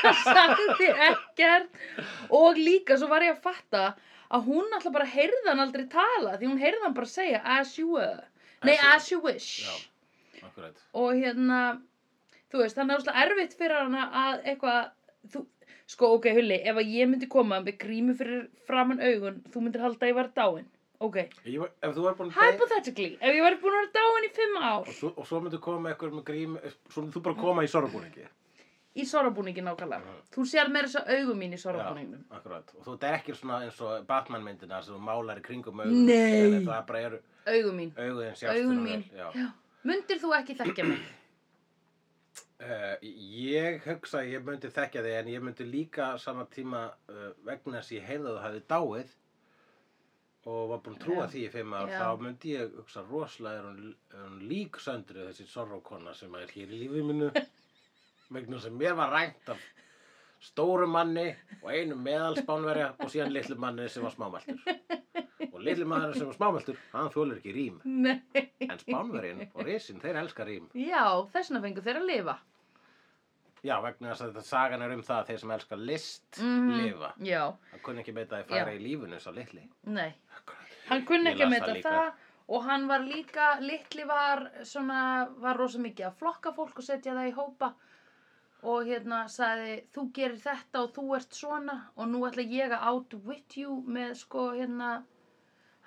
S1: hann sagði ekkert. Og líka svo var ég að fatta að hún alltaf bara heyrði hann aldrei tala því hún heyrði hann bara segja as you were. Nei,
S2: you-
S1: as you wish.
S2: já, akkurat
S1: Og hérna, þú veist, þannig að það er erfitt fyrir hann að eitthvað, þú, sko, ok, Hulli, ef að ég myndi koma með grímu fyrir framann augun, þú myndir halda að ég var dáin. Ok,
S2: Ég var- ef þú var búin að deyja-
S1: hypothetically, ef ég væri búin að vera dáin í fimm ár
S2: og svo, og svo myndu koma með eitthvað með grím svo myndu þú bara koma í Sorro búin
S1: í sorabúningi nákvæmlega, þú sér meira þess að augum mín í sorabúningnum.
S2: Já, akkurat. Og þú dekkir svona eins og Batman myndina sem þú málar í kringum augun.
S1: Nei.
S2: En það bara eru
S1: Augum mín.
S2: augun sjást.
S1: Augun
S2: svona
S1: mín.
S2: vel, Já.
S1: Mundir þú ekki þekkja mig?
S2: Uh, ég hugsa að ég myndi þekkja þig en ég myndi líka á sama tíma uh, vegna þess að ég heyrði að þú hafið dáið og var búin að trúa
S1: Já.
S2: því í fimm ár
S1: Já.
S2: þá myndi ég hugsa rosalega er hún, er hún lík söndru þessi sorrókona sem er hér í lífi mínu vegna sem mér var rænt af stórum manni og einum meðalspánverja og síðan litlu manni sem var smámæltur og litlu manni sem var smámæltur hann þólar ekki rím
S1: Nei.
S2: en spánverjinn og risin þeir elska rím
S1: Já, þess vegna fengu þeir að lifa.
S2: Já, vegna þess að þetta sagan er um það að þeir sem elska list
S1: Mhm.
S2: lifa.
S1: Já,
S2: Það kunni ekki meita að þeir fara
S1: Já.
S2: í lífunu svo litli.
S1: nei. Hann kunni
S2: Ég
S1: ekki að
S2: las það
S1: meta
S2: líka.
S1: það og hann var líka, litli var svona, var rosa mikið að flokka fólk og setja það í hópa og hérna sagði þú gerir þetta og þú ert svona og nú ætla ég að outwit you með sko hérna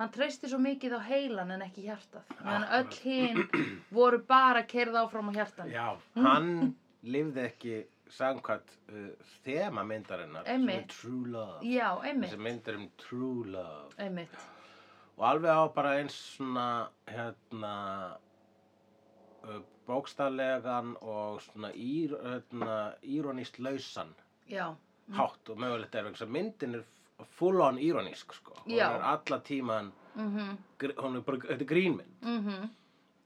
S1: hann treysti svo mikið á heilan en ekki hjartað meðan
S2: Akkurat.
S1: öll hinn voru bara kerð áfram á hjartan
S2: Já, hann lifði ekki samkvæmt uh, þema myndarinnar sem er
S1: Einmitt.
S2: True Love
S1: Já,
S2: þessi
S1: einmitt,
S2: mynd er um True Love
S1: einmitt
S2: og alveg á bara eins svona hérna uh, bókstaflegan og svona ír, hérna, íronískt lausan
S1: Já,
S2: hátt og mögulegt er vegna þess að myndin er full on íronísk sko hún
S1: Já.
S2: er alla tíman
S1: mhm,
S2: gr- hún er bara, þetta er grínmynd
S1: mhm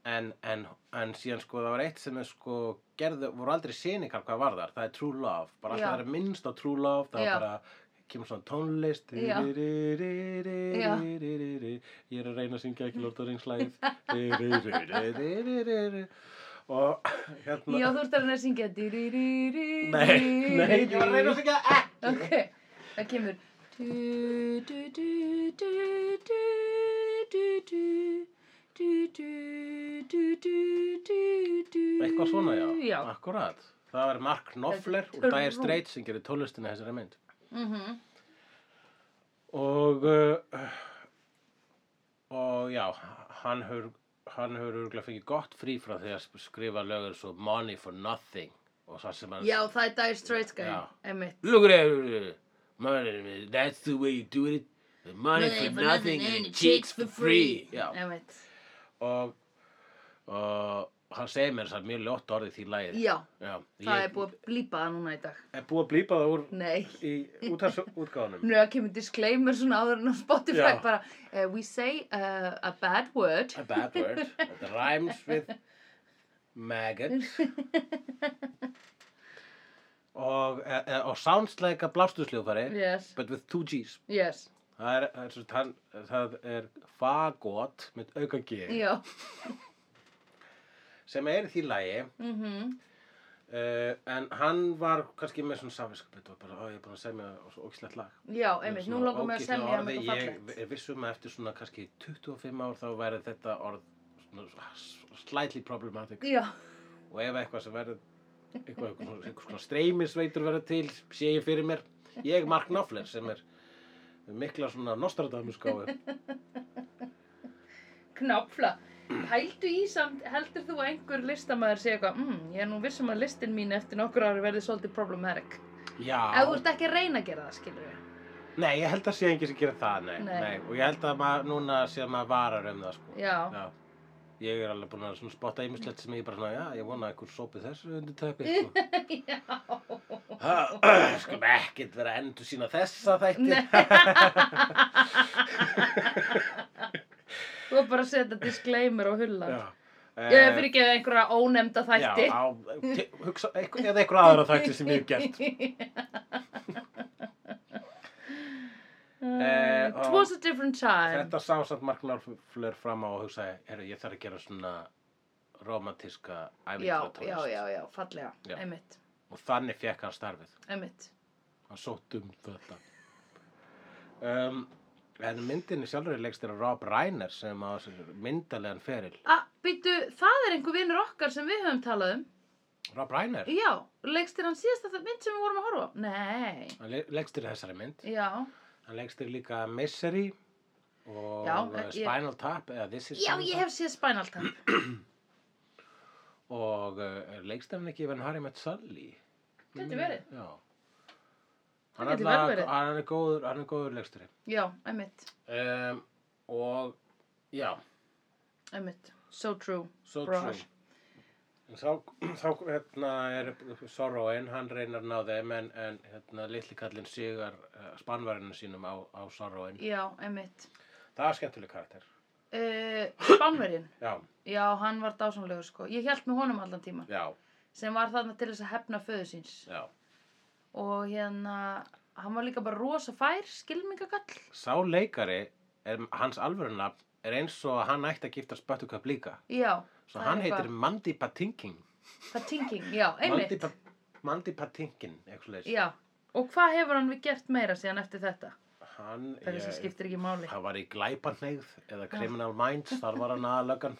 S2: en, en, en síðan sko það var eitt sem er sko gerðu, voru aldrei sinikar hvað var þar, það er True Love bara alltaf
S1: Já.
S2: það er minnst á True Love það
S1: Já.
S2: var bara, kemur svona tónlist
S1: Já. Já.
S2: Ri-ri-ri-ri-ri-ri-ri-ri. ég er að reyna að syngja ekki lort og ringslæð og hérna
S1: Já, þú ert að reyna að syngja Nei,
S2: nei, nei, ég var að reyna að syngja það ekki
S1: Ok, það kemur du, du, du, du, du, du, du, du, du, du, du, du, du.
S2: eitthvað svona já,
S1: Já,
S2: akkurat það var Mark Knopfler
S1: Þetta er
S2: og Dire
S1: trú.
S2: Straits sem gerir tónlistina í þessari mynd
S1: mhm,
S2: og uh, og já hann hefur hann hefur örgulega fengið gott frí frá því að skrifa lögur svo money for nothing og það sem hann
S1: já það er Dire Straits gæði,
S2: Já.
S1: einmitt
S2: look at that eh, money, that's the way you do it the money for nothing and the chicks for free já.
S1: Einmitt,
S2: og og hann segir mér þess að mjög ljótt orðið því lagið
S1: já,
S2: já
S1: það er búið að blípa það núna í dag
S2: er búið að blípa það úr
S1: Nei
S2: í útgafanum
S1: Nú, það kemur disclaimer svona áður en á Spotify
S2: Já.
S1: bara uh, We say uh, a bad word
S2: a bad word that rhymes with maggot og, e, e, og sounds like a blástusljófari
S1: Yes,
S2: but with two G's
S1: yes,
S2: það er, það er, svo- hann, það er fagot með auka G
S1: já
S2: sem er í því lagi
S1: mhm
S2: uh, en hann var kannski með svona safinskapið og bara, "Ó, ég er búin að segja mér og svo ógislegt lag
S1: Já, einmitt, nú
S2: Svona
S1: langar mig að
S2: ógeðslega
S1: semja um
S2: orði.
S1: eitthvað fallegt.
S2: Ég er vissum að eftir svona kannski 25 ár þá væri þetta orð svona slightly problematic
S1: Já,
S2: og ef eitthvað sem verður eitthvað, eitthvað, svona- eitthvað svona streymisveitur verður til sé ég fyrir mér ég Mark Knopfler sem er með mikla svona Nostradamus gáðu
S1: knopfla. Pældu í samt, heldur þú að einhver listamæður sé eitthvað, mm, ég er nú vissum að listin mín eftir nokkur ári verði svolítið problematic. Ef þú
S2: já,
S1: ert ekki að reyna að gera það, skilur við.
S2: nei ég held að sé engin sem gerir það nei,
S1: Nei.
S2: nei. og ég held að maður, núna sé að maður varar um það sko.
S1: Já,
S2: ég er alveg búin að svona spotta ýmislegt sem ég bara svona, já, ég vona að einhver sopið þessu undir teppi sko.
S1: já,
S2: Ha, skulum ekkert vera að endur sína þessa þætti
S1: Nei. þú er bara að setja disclaimer á hullan.
S2: já,
S1: Ég hef fyrir ekki einhverja ónefnda þætti.
S2: Já, á, te- hugsa, einhver, eða einhver aðra þætti sem ég hef gert. Eh,
S1: It
S2: og-
S1: was a different time.
S2: Þetta sá samt Mark Norflur fram á og hugsaði, herru, ég þarf að gera svona romantíska
S1: Já,
S2: æfintratónist.
S1: já, já, já, fallega,
S2: Já.
S1: einmitt,
S2: Og þannig fekk hann starfið.
S1: einmitt.
S2: Hann sótt um þetta. Um, en myndinni sjálfur er leikst er Rob Reiner sem á þessu myndalegan feril.
S1: Ah, býtu, það er einhver vinnur okkar sem við höfum talað um.
S2: Rob Reiner?
S1: Já, leikstir hann síðast að það mynd sem við vorum að horfa á? Nei,
S2: Hann le leikst er þessari mynd.
S1: já,
S2: Hann leikst er líka Misery og
S1: Já,
S2: eh,
S1: ég-
S2: Spinal Tap eða This is
S1: já,
S2: Spinal
S1: ég
S2: Tap.
S1: hef séð Spinal Tap.
S2: og uh, leikstæðan ekki yfir en Harry Met Sully
S1: Gæti verið.
S2: Já Hann
S1: gæti
S2: allavega-
S1: vel verið.
S2: Hann er góður, hann er góður leikstæri
S1: Já, einmitt,
S2: um, Og já,
S1: einmitt, so true.
S2: so
S1: Brush.
S2: true En þá, þá hérna er Sorrowen, hann reynar að ná þeim en, en hérna litli kallinn sigar uh, spannvarinu sínum á, á Sorrowen.
S1: Já, einmitt.
S2: Það er skemmtileg karakter.
S1: Uh, Spánverjinn,
S2: Já,
S1: já, hann var dásamlegur sko. Ég held með honum allan tíman,
S2: já,
S1: sem var þarna til þess að hefna föðu síns.
S2: já.
S1: Og hérna, hann var líka bara rosa fær, skilmingagall.
S2: Sá leikari, er, hans alvörunafn, er eins og hann ætti að giftast Buttercup líka.
S1: Já,
S2: Svo
S1: það er
S2: hann
S1: eitthvað-
S2: heitir Mandy Patinkin.
S1: Patinking, já,
S2: Mandy,
S1: einmitt.
S2: pa Mandy Patinkin, eitthvað leys.
S1: Já, og hvað hefur hann við gert meira síðan eftir þetta?
S2: Hann,
S1: Það er þess að
S2: ég,
S1: skiptir ekki máli.
S2: hann var í Glæpanegð eða Criminal Minds, þar var hann aðalögan.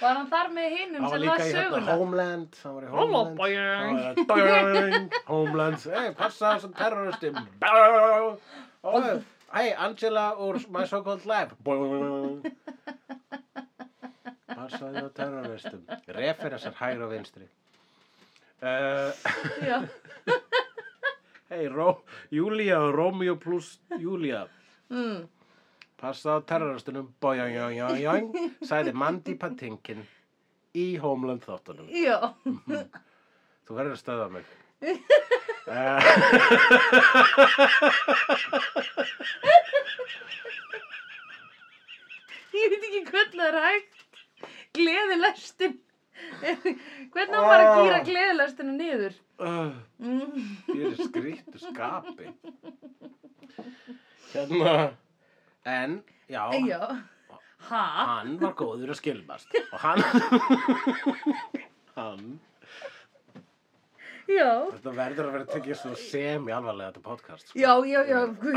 S1: Var hann þar með hinum
S2: hann var
S1: sem
S2: líka
S1: las
S2: í hérna
S1: söguna?
S2: Homeland hann var í
S1: Hola,
S2: Homeland
S1: boing.
S2: Hann var í Boing, Homeland hey, passa þessum terroristum Boing. og hey, Angela úr My So Called Lab Boing. passa þessum terroristum referensar hægra og vinstri uh,
S1: Já,
S2: hey, Ró, Júlia og Romeo plus Júlia
S1: mm.
S2: passa á terroristunum boing, boing, boing, boing, sagði Mandy Patinkin í Homeland þáttunum
S1: já.
S2: Þú verður að stöða mig. Eh,
S1: Ég veit ekki hvernig það er hægt. Gleðilestin. hvernig á maður að gýra
S2: Oh.
S1: gleðilestina niður?
S2: uh,
S1: Mm.
S2: Ég er í skrýttu skapi. Hérna. En, já,
S1: Já. Ha?
S2: hann var góður að skilmast. Og hann, hann,
S1: Já.
S2: þetta verður að vera tekið svo semi alvarlega þetta podcast. sko.
S1: Já, já, já. guð.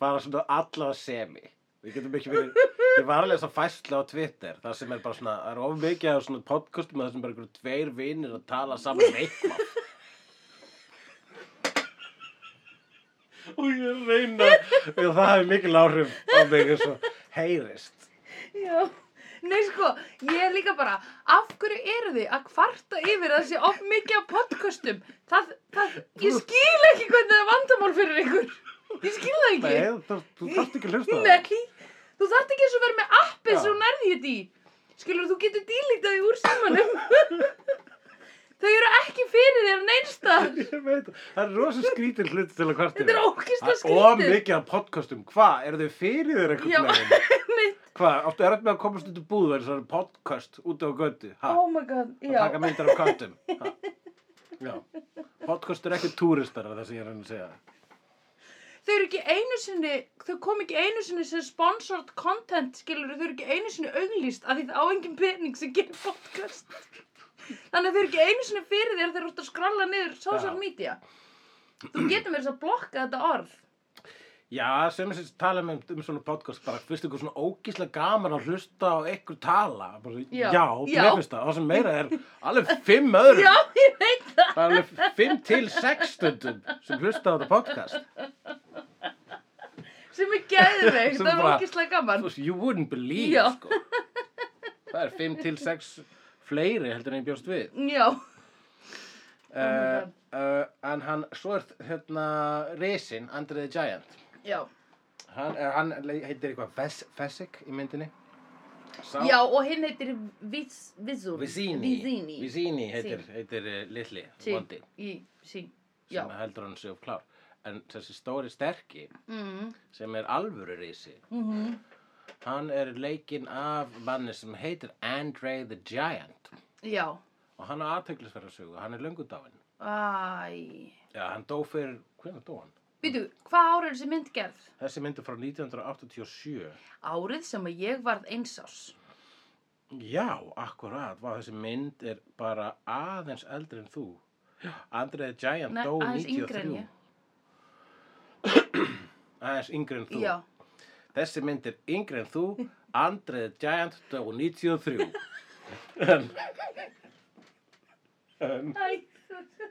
S2: Bara svona allavega semi. Við getum ekki verið, ég var alveg svo fæsla á Twitter, það sem er bara svona, það er of mikið af svona podcastum að það sem bara einhverju tveir vinir að tala saman um eitthvað. og ég er að reyna og það hefði mikil áhrif á mig eins og heyrist
S1: Já, nei sko, ég er líka bara, af hverju eru þið að kvarta yfir að það sé of mikið af podcastum? Það, það, ég skil ekki hvernig það er vandamál fyrir ykkur. Ég skil það ekki.
S2: Nei, þú, þú þarft ekki að hlusta á það
S1: Nei, þú þarft ekki eins og vera með appið
S2: Já.
S1: sem þú nærði þetta í. Skilur, þú getur dílítið því úr símanum. Þau eru ekki fyrir þér neinstar.
S2: Ég veit, það er rosa skrítin hlut til að kvartir
S1: Þetta er ógeðslega
S2: Og
S1: skrýtið.
S2: mikið af podcastum, hvað, eru þau fyrir þér
S1: Já.
S2: eitthvað meginn?
S1: Mitt,
S2: Hvað, áttu erfitt með að komast út í búð og það er podcast út á götu ha,
S1: oh my god,
S2: Ah. að taka
S1: já.
S2: myndir af köttum ha. Já, podcast er ekki túristar það sem ég er að reyna að segja
S1: Þau eru ekki einu sinni, þau kom ekki einu sinni sem sponsored content, skilur, þau eru ekki einu sinni auglýst af því það á engin pening sem gerir podcast. Þannig að þau eru ekki einu sinni fyrir þér þegar þú ert að skralla niður social
S2: Já.
S1: media. Þú getur mér þess að blokka þetta orð.
S2: Já, sem sem tala með um svona podcast bara fyrst ykkur svona ógíslega gaman að hlusta á ykkur tala bara,
S1: Já,
S2: já,
S1: já.
S2: mér finnst það, og það sem meira er alveg fimm öðrum
S1: Já, ég veit það.
S2: það er alveg fimm til sex stundum sem hlusta á þetta podcast
S1: Sem er geðveikt,
S2: Sem
S1: það er
S2: bara-
S1: ógislega gaman.
S2: Þú veist, you wouldn't believe
S1: Já.
S2: sko. það er fimm til sex fleiri heldur en ég bjóst við
S1: Já,
S2: uh,
S1: God.
S2: uh, en hann, svo er hérna Resin, Andre the Giant
S1: já.
S2: hann, er, hann heitir eitthvað Fes Fessik í myndinni Sá,
S1: Já, og hinn heitir Viz, Vizur.
S2: Visini
S1: Vizini.
S2: Visini heitir,
S1: Sí.
S2: heitir uh, litli
S1: Sí,
S2: vondi
S1: í, sí, já.
S2: sem heldur hann sig of klár en þessi stóri sterki
S1: Mm,
S2: sem er alvöru risi
S1: mm
S2: hann er leikinn af manni sem heitir Andre the Giant
S1: Já,
S2: og hann er aðteglisverða sögu, hann er löngudáin
S1: æ.
S2: já, hann dó fyrir, hvernig dó hann?
S1: Býtu, hvað ár er þessi mynd gerð?
S2: þessi mynd er frá 1987
S1: Árið sem að ég varð eins árs.
S2: já, akkurat, Vá, þessi mynd er bara aðeins eldri en þú Andre the Giant
S1: Nei,
S2: dó
S1: aðeins yngri en ég.
S2: 93 aðeins yngri en þú
S1: Já,
S2: Þessi mynd er yngri en þú, Andre the Giant dó 93. en, en
S1: Æ,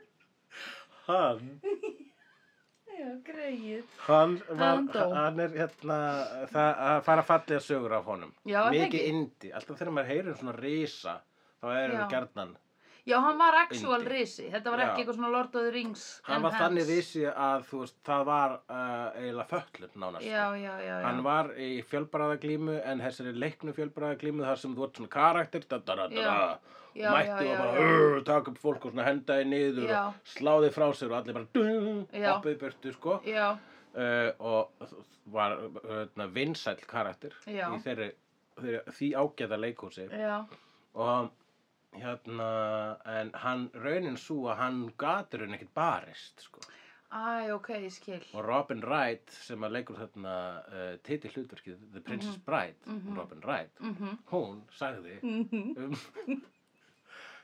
S2: hann,
S1: já, greið.
S2: hann, var,
S1: Hann dó.
S2: hann er hérna, það að fara fallega sögur af honum.
S1: Já, er það
S2: Mikið
S1: ekki?
S2: indi, alltaf þegar maður heyrir um svona risa, þá er
S1: Já.
S2: hann gerðnan.
S1: Já, hann var actual
S2: Yndi.
S1: risi. Þetta var
S2: Já.
S1: ekki eitthvað svona Lord of the Rings.
S2: Hann var
S1: enhanced.
S2: þannig risi að þú veist, það var uh, eiginlega föllum nánast.
S1: Já, já, já. já.
S2: Hann var í fjölbræðaglímu en þessari leiknu fjölbræðaglímu þar sem þú ert svona karakter da, da, da, da, da,
S1: Já, já,
S2: mætti
S1: já,
S2: og bara
S1: já.
S2: "Urr", taka upp fólk og svona henda þið niður
S1: Já.
S2: og slá þið frá sér og allir bara dung,
S1: Já.
S2: hoppið í burtu sko
S1: Já,
S2: uh, og var uh, vinsæll karakter
S1: Já.
S2: í þeirri, þeirri, því ágæða leikhúsi
S1: já,
S2: og hérna en hann raunin svo að hann gatur hann ekkert barist sko
S1: æ, ok, ég skil.
S2: og Robin Wright sem að leikur þarna uh, titi hlutverkið The Princess Bride Robin Wright
S1: Mhm,
S2: hún sagði
S1: mhm,
S2: um,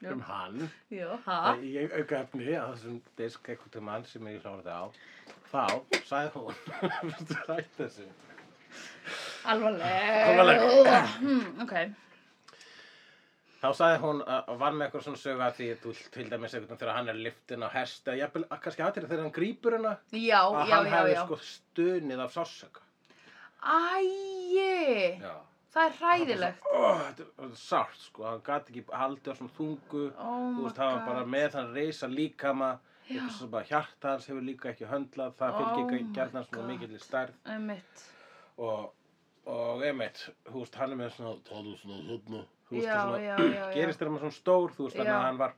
S1: Já. Ah.
S2: um hann
S1: já, ha?
S2: að ég auka efni að þessum disk eitthvað til mann sem ég hláði á þá sagði hún rætt þessu
S1: Alvarleg.
S2: Alvarleg.
S1: Hmm, ok.
S2: Þá sagði hún að að var með eitthvað svona sögu að því þú til dæmis eitthvað þegar hann er liftin á hesti að jafnvel að kannski aðtrið þegar hann grípur hennar
S1: Já,
S2: að
S1: já,
S2: hann
S1: já,
S2: hefði
S1: já.
S2: sko stunið af sásöka.
S1: Æi,
S2: Já.
S1: það er hræðilegt.
S2: Oh, þetta er- þetta er sárt sko, hann gati ekki haldið á svona þungu,
S1: Oh
S2: þú
S1: my
S2: veist, hann
S1: god.
S2: var bara með hann reysa líkama, eitthvað sem bara hjarta hans hefur líka ekki höndlað, það
S1: Oh
S2: fylgir
S1: my
S2: ekki gerðan svona
S1: God.
S2: mikill í stærð
S1: Einmitt.
S2: og, og einmitt, þú veist, hann er með svona, það er svona hérna, þú veist,
S1: Já,
S2: það
S1: já,
S2: svona,
S1: já, já.
S2: gerist þegar maður svona stór, þú veist, þannig
S1: Já.
S2: að hann var,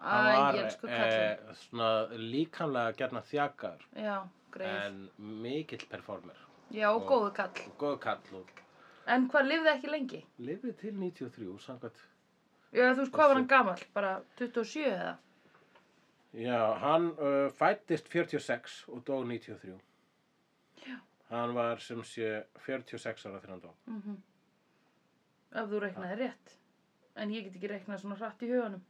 S1: Æ,
S2: hann
S1: ég elsku
S2: var eh,
S1: kallin.
S2: svona líkamlega gerna þjakaður,
S1: Já, greið.
S2: en mikill performer,
S1: Já, og góðu kall.
S2: og góð kall og
S1: En hvað lifði ekki lengi?
S2: lifið til 93, samkvæmt,
S1: Já, þú veist, hvað var hann gamall? Bara 27 eða?
S2: Já, hann uh, fættist 46 og dó 93. Já. Hann var sem sé 46 ára þegar hann dó.
S1: Mm Ef þú reiknaði
S2: Ah.
S1: rétt. En ég get ekki reiknað svona hratt í huganum.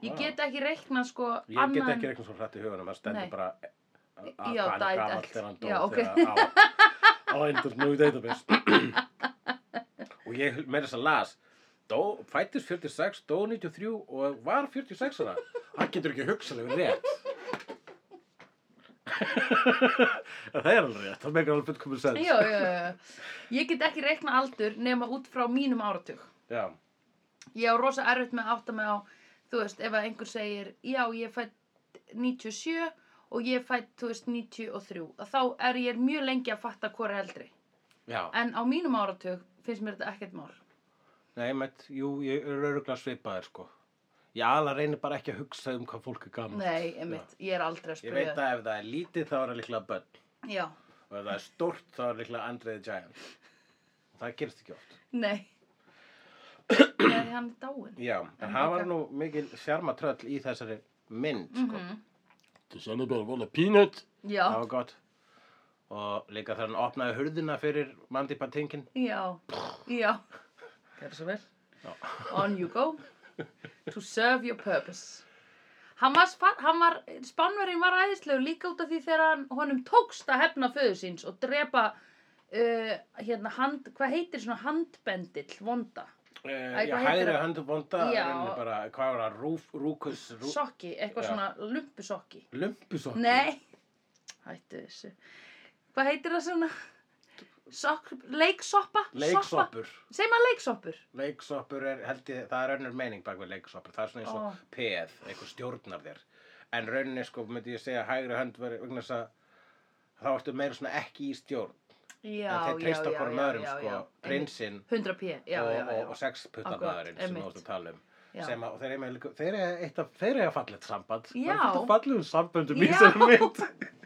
S1: Ég
S2: Já.
S1: get ekki reiknað sko
S2: Ah. Ég
S1: annað
S2: get
S1: en-
S2: ekki reiknað svo hrætt í hugunum, það stendur
S1: Nei.
S2: bara eh, að hvað
S1: Já,
S2: hann er
S1: died
S2: gamall
S1: at-
S2: þegar hann dó
S1: já, ok.
S2: þegar á, á Windows Movie Database. og ég meira þess að las, dó, fættist 46, dó 93 og var 46 ára. Hann getur ekki hugsalega rétt. það er alveg rétt, það meikar alveg fullkomur sens.
S1: Já, já, já, já. Ég get ekki reiknað aldur nema út frá mínum áratug.
S2: Já.
S1: Ég á rosa erfitt með að átta mig á, þú veist, ef að einhver segir, já, ég er fætt 97 og ég er fætt, þú veist, 93. Að Þá er ég mjög lengi að fatta hvor er eldri.
S2: Já.
S1: En á mínum áratug finnst mér þetta ekkert mál.
S2: Nei, meitt, jú, ég er öruglega svipaðir, sko. Ég alveg reynir bara ekki að hugsa um hvað fólk er gaman.
S1: Nei, einmitt, ég er aldrei að
S2: Ég
S1: spyrja.
S2: veit að ef það er lítið þá er það líklega börn
S1: Já,
S2: og ef það er stórt þá er líklega Andre the Giant. Og það gerst ekki oft.
S1: nei. Nei, hann er dáinn.
S2: Já, en,
S1: En
S2: það
S1: ok.
S2: var nú mikil sjarmatröll í þessari mynd, sko.
S3: To celebrate what a peanut.
S1: Mhm. Já,
S2: Það var gott. Og líka þegar hann opnaði hurðina fyrir Mandy Patinkin.
S1: já, já. Gerðu svo vel.
S2: Já.
S1: On you go. To serve your purpose. Hann var, spa- hann var, spánverinn var æðislegur líka út af því þegar hann, honum tókst að hefna föður síns og drepa, uh, hérna, hand, hvað heitir svona handbendill, vonda?
S2: Uh,
S1: Æ,
S2: ég
S1: hvað heitir
S2: hægri
S1: það?
S2: höndu vonda,
S1: Já.
S2: reynir bara, hvað var það, rúf, rúkus, rú,
S1: Sokki, eitthvað
S2: Já.
S1: svona lumpusokki.
S2: lumpusokki.
S1: Nei, hættu þessu. Hvað heitir það svona? Sok, leiksoppa? Soppa?
S2: Leiksoppur.
S1: Segir maður leiksoppur?
S2: Leiksoppur er, held ég, það er önnur meining bak við leiksoppur. Það er svona eins og
S1: Ó.
S2: peð, eitthvað stjórnar þér. En rauninni, sko, myndi ég segja að hægri hönd veri vegna þess að þá ertu meira svona ekki í stjórn.
S1: Já,
S2: en þeir
S1: já,
S2: treysta
S1: já,
S2: hvorum
S1: já,
S2: öðrum,
S1: já,
S2: sko,
S1: já.
S2: prinsinn
S1: 100 p, já, já,
S2: og,
S1: já.
S2: og, og sexputtamæðurinn sem
S1: Akkurat,
S2: þú ert að tala um.
S1: Já.
S2: Sem að, og þeir eru líka, þeir eru eitt af, þeir eru að fallið samband. Það
S1: Já.
S2: er fullt af fallegum samböndum í
S1: Já.
S2: þessari mynd.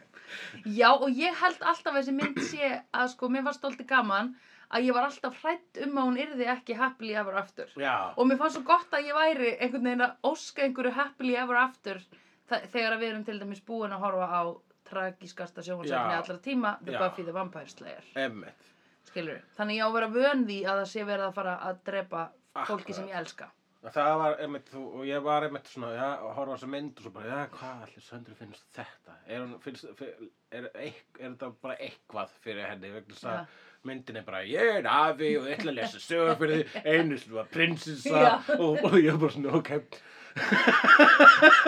S1: Já, og ég held alltaf að þessi mynd sé að sko, mér var stolti gaman að ég var alltaf hrætt um að hún yrði ekki happily ever after.
S2: Já.
S1: Og mér fannst svo gott að ég væri einhvern veginn að óska einhverju happily ever after þa- þegar að við erum til dæmis búin að horfa á tragískasta sjónvarsefni
S2: Já.
S1: allra tíma, The
S2: Já.
S1: Buffy the Vampire Slayer,
S2: Emmitt.
S1: skilur Þannig ég á að vera vön því að það sé verið að fara að drepa fólki
S2: Akkurat.
S1: sem ég elska.
S2: Það var einmitt, þú, og ég var einmitt svona, já, að horfa á þessa mynd og svo bara, já, hvað allir söndru finnst þetta? Er, hún, finnst, fyr, er, eik- er þetta bara eitthvað fyrir henni? Vegna þess
S1: Já.
S2: að myndin er bara, ég er afi og ég ætla að lesa sögur fyrir því, einu sem var prinsessa
S1: Já.
S2: og, og ég bara svona, ok.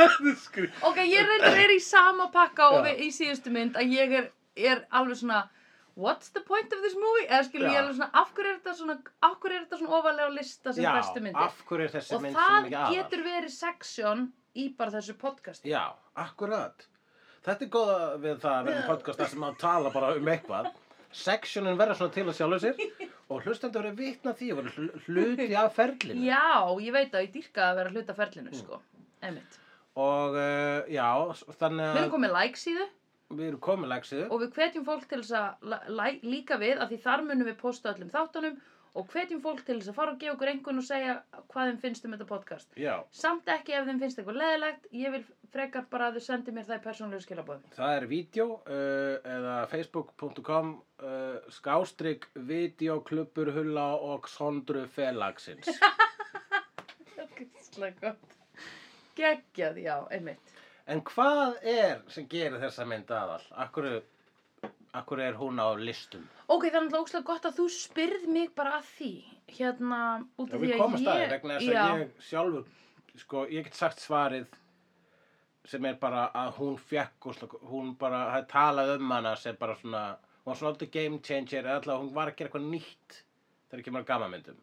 S2: Þetta er skrý-
S1: Ok, ég reyndar er í sama pakka og
S2: Já.
S1: við, í síðustu mynd að ég er, er alveg svona What's the point of this movie? Eða skilur ég
S2: Já.
S1: er alveg svona, af hverju er þetta svona, af hverju er þetta svona ofalega á lista sem
S2: já,
S1: bestu myndir?
S2: af hverju er þessi
S1: Og
S2: mynd
S1: það
S2: svona ekki aðal?
S1: getur verið seksjón í bara þessu podcasti.
S2: Já, akkurat. Þetta er góða við það að verða podcast þar sem maður tala bara um eitthvað. Sectionin verða svona til að sjálfu sér og hlustendur verið vitna því og verið hl- hluti af ferlinu.
S1: Já, ég veit að ég dýrka að vera hluta
S2: Mm.
S1: ferlinu, sko. Einmitt.
S2: Og uh, já, s- þannig
S1: Við
S2: að
S1: erum komið like síðu
S2: við erum komin leksiðu.
S1: og við hvetjum fólk til þess að la- la- líka við að því þar munum við posta öllum þáttunum og hvetjum fólk til þess að fara og gefa okkur einhvern og segja hvað þeim finnst um þetta podcast.
S2: Já,
S1: Samt ekki ef þeim finnst eitthvað leðilegt, ég vil frekar bara að þau sendi mér það í persónulegu skilabóðum.
S2: það er vídeo uh, eða facebook.com uh, skástrygg videoklubbur hulla og sondru felagsins.
S1: Ógæslega gott. Geggjað, já, einmitt.
S2: En hvað er sem gerir þessa mynd aðal? Akkur, Akkur er hún á listum?
S1: Ok, það er náttúrulega óslega gott að þú spyrð mig bara að því, hérna, út
S2: Já,
S1: af því
S2: við
S1: að ég...
S2: komast að þér vegna þess að
S1: já,
S2: ég sjálfur, sko, ég get sagt svarið sem er bara að hún fekk og slok, hún bara, það er talað um hana sem bara svona, hún var svona alltaf game changer eða alltaf hún var að gera eitthvað nýtt þegar kemur að gammamyndum.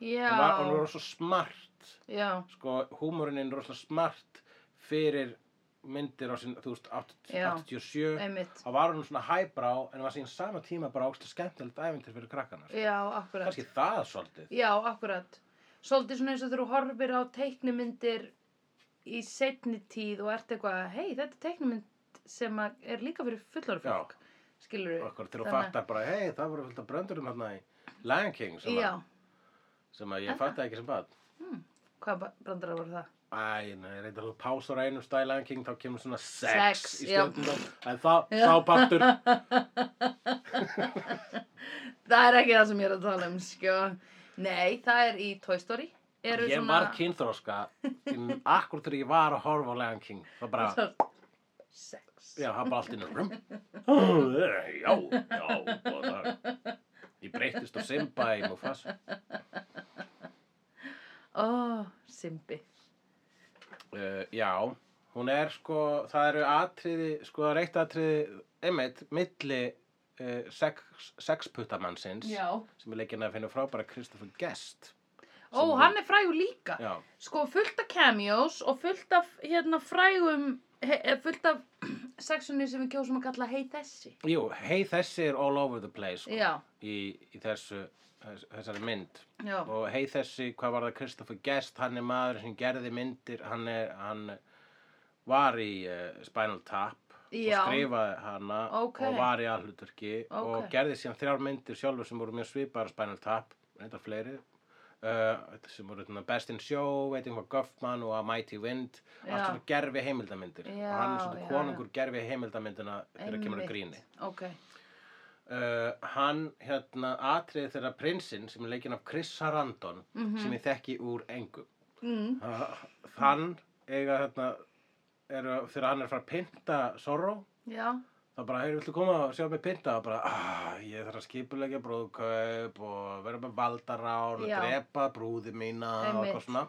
S1: Já,
S2: Hún var, hún var svo smart,
S1: já,
S2: sko, húmurinn er rosalega smart fyrir myndir á sinn, þú veist, 80,
S1: Já.
S2: 87
S1: einmitt.
S2: þá var hún svona hæbrá en var síðan sama tíma bara ógstu skemmtilegt æfintir fyrir krakkana sko.
S1: Já, akkurat.
S2: kannski það svolítið
S1: Já, akkurat. Svolítið svona eins og þegar þú horfir á teiknumyndir í setni tíð og ert eitthvað, hei, þetta er teiknumynd sem að er líka fyrir fullar
S2: Já.
S1: fólk, skilur við.
S2: okkur til að fatta bara, hei, það voru fullt af bröndurum hérna í Lion King sem,
S1: Já,
S2: að, sem að ég
S1: En-
S2: fatta ekki sem bad
S1: hvað ba- brandarar voru það?
S2: Æ, nei, reyndar þú pásar á einum stæl Lion King þá kemur svona sex,
S1: Sex,
S2: í
S1: já.
S2: stjórnum en þá,
S1: Já.
S2: þá partur
S1: Það er ekki það sem ég er að tala um, sko. Nei, það er í Toy Story. Eru
S2: ég
S1: svona...
S2: var kynþróska en akkur þegar ég var að horfa á Lion King þá bara,
S1: Sex.
S2: já, það bara allt inn rum já, eh, já, og það ég breytist á Simba í Mufasa
S1: Ó, Simbi.
S2: Uh, já, hún er sko, það eru atriði, sko það er eitt atriði, einmitt, milli uh, sex, sexputtamannsins
S1: Já.
S2: sem er leikinn að finna frábæra Kristoffer Guest.
S1: Ó,
S2: Sem-
S1: hann er frægur líka.
S2: Já,
S1: Sko, fullt af cameos og fullt af hérna frægum, he, eh, fullt af sexunni sem við kjósum að kalla hei þessi.
S2: jú, hei þessi er all over the place sko,
S1: Já,
S2: í, í þessu, þess- þessari mynd.
S1: já,
S2: Og hei þessi, hvað var það Kristoffer Guest, hann er maður sem gerði myndir, hann, er, hann var í uh, Spinal Tap.
S1: Já.
S2: og skrifaði hana
S1: Ókei.
S2: og var í aðhluturki og
S1: Ókei.
S2: gerði síðan þrjár myndir sjálfur sem voru mjög svipaðar Spinal Tap, reyndar fleiri uh, sem voru þarna, Best in Show, Waiting for Guffman og A Mighty Wind allt
S1: Já.
S2: svona gerfi heimildamindir
S1: Já,
S2: og hann er svona
S1: já,
S2: konungur gerfi heimildamindina þegar
S1: Einmitt.
S2: kemur að gríni
S1: ok.
S2: uh, hann hérna atriði þeirra prinsinn sem er leikinn af Chris Sarandon
S1: Mhm.
S2: sem ég þekki úr engum
S1: Mm.
S2: uh, hann eiga hérna eru, þegar hann er að fara að pynta Sorrow
S1: Já,
S2: Það bara, heyrðu, viltu koma og sjá mig pynta? Og bara, ah, ég þarf að skipulegja brúðkaup og vera með valdarán og
S1: Já.
S2: drepa brúði mína og
S1: Einmitt.
S2: eitthvað svona.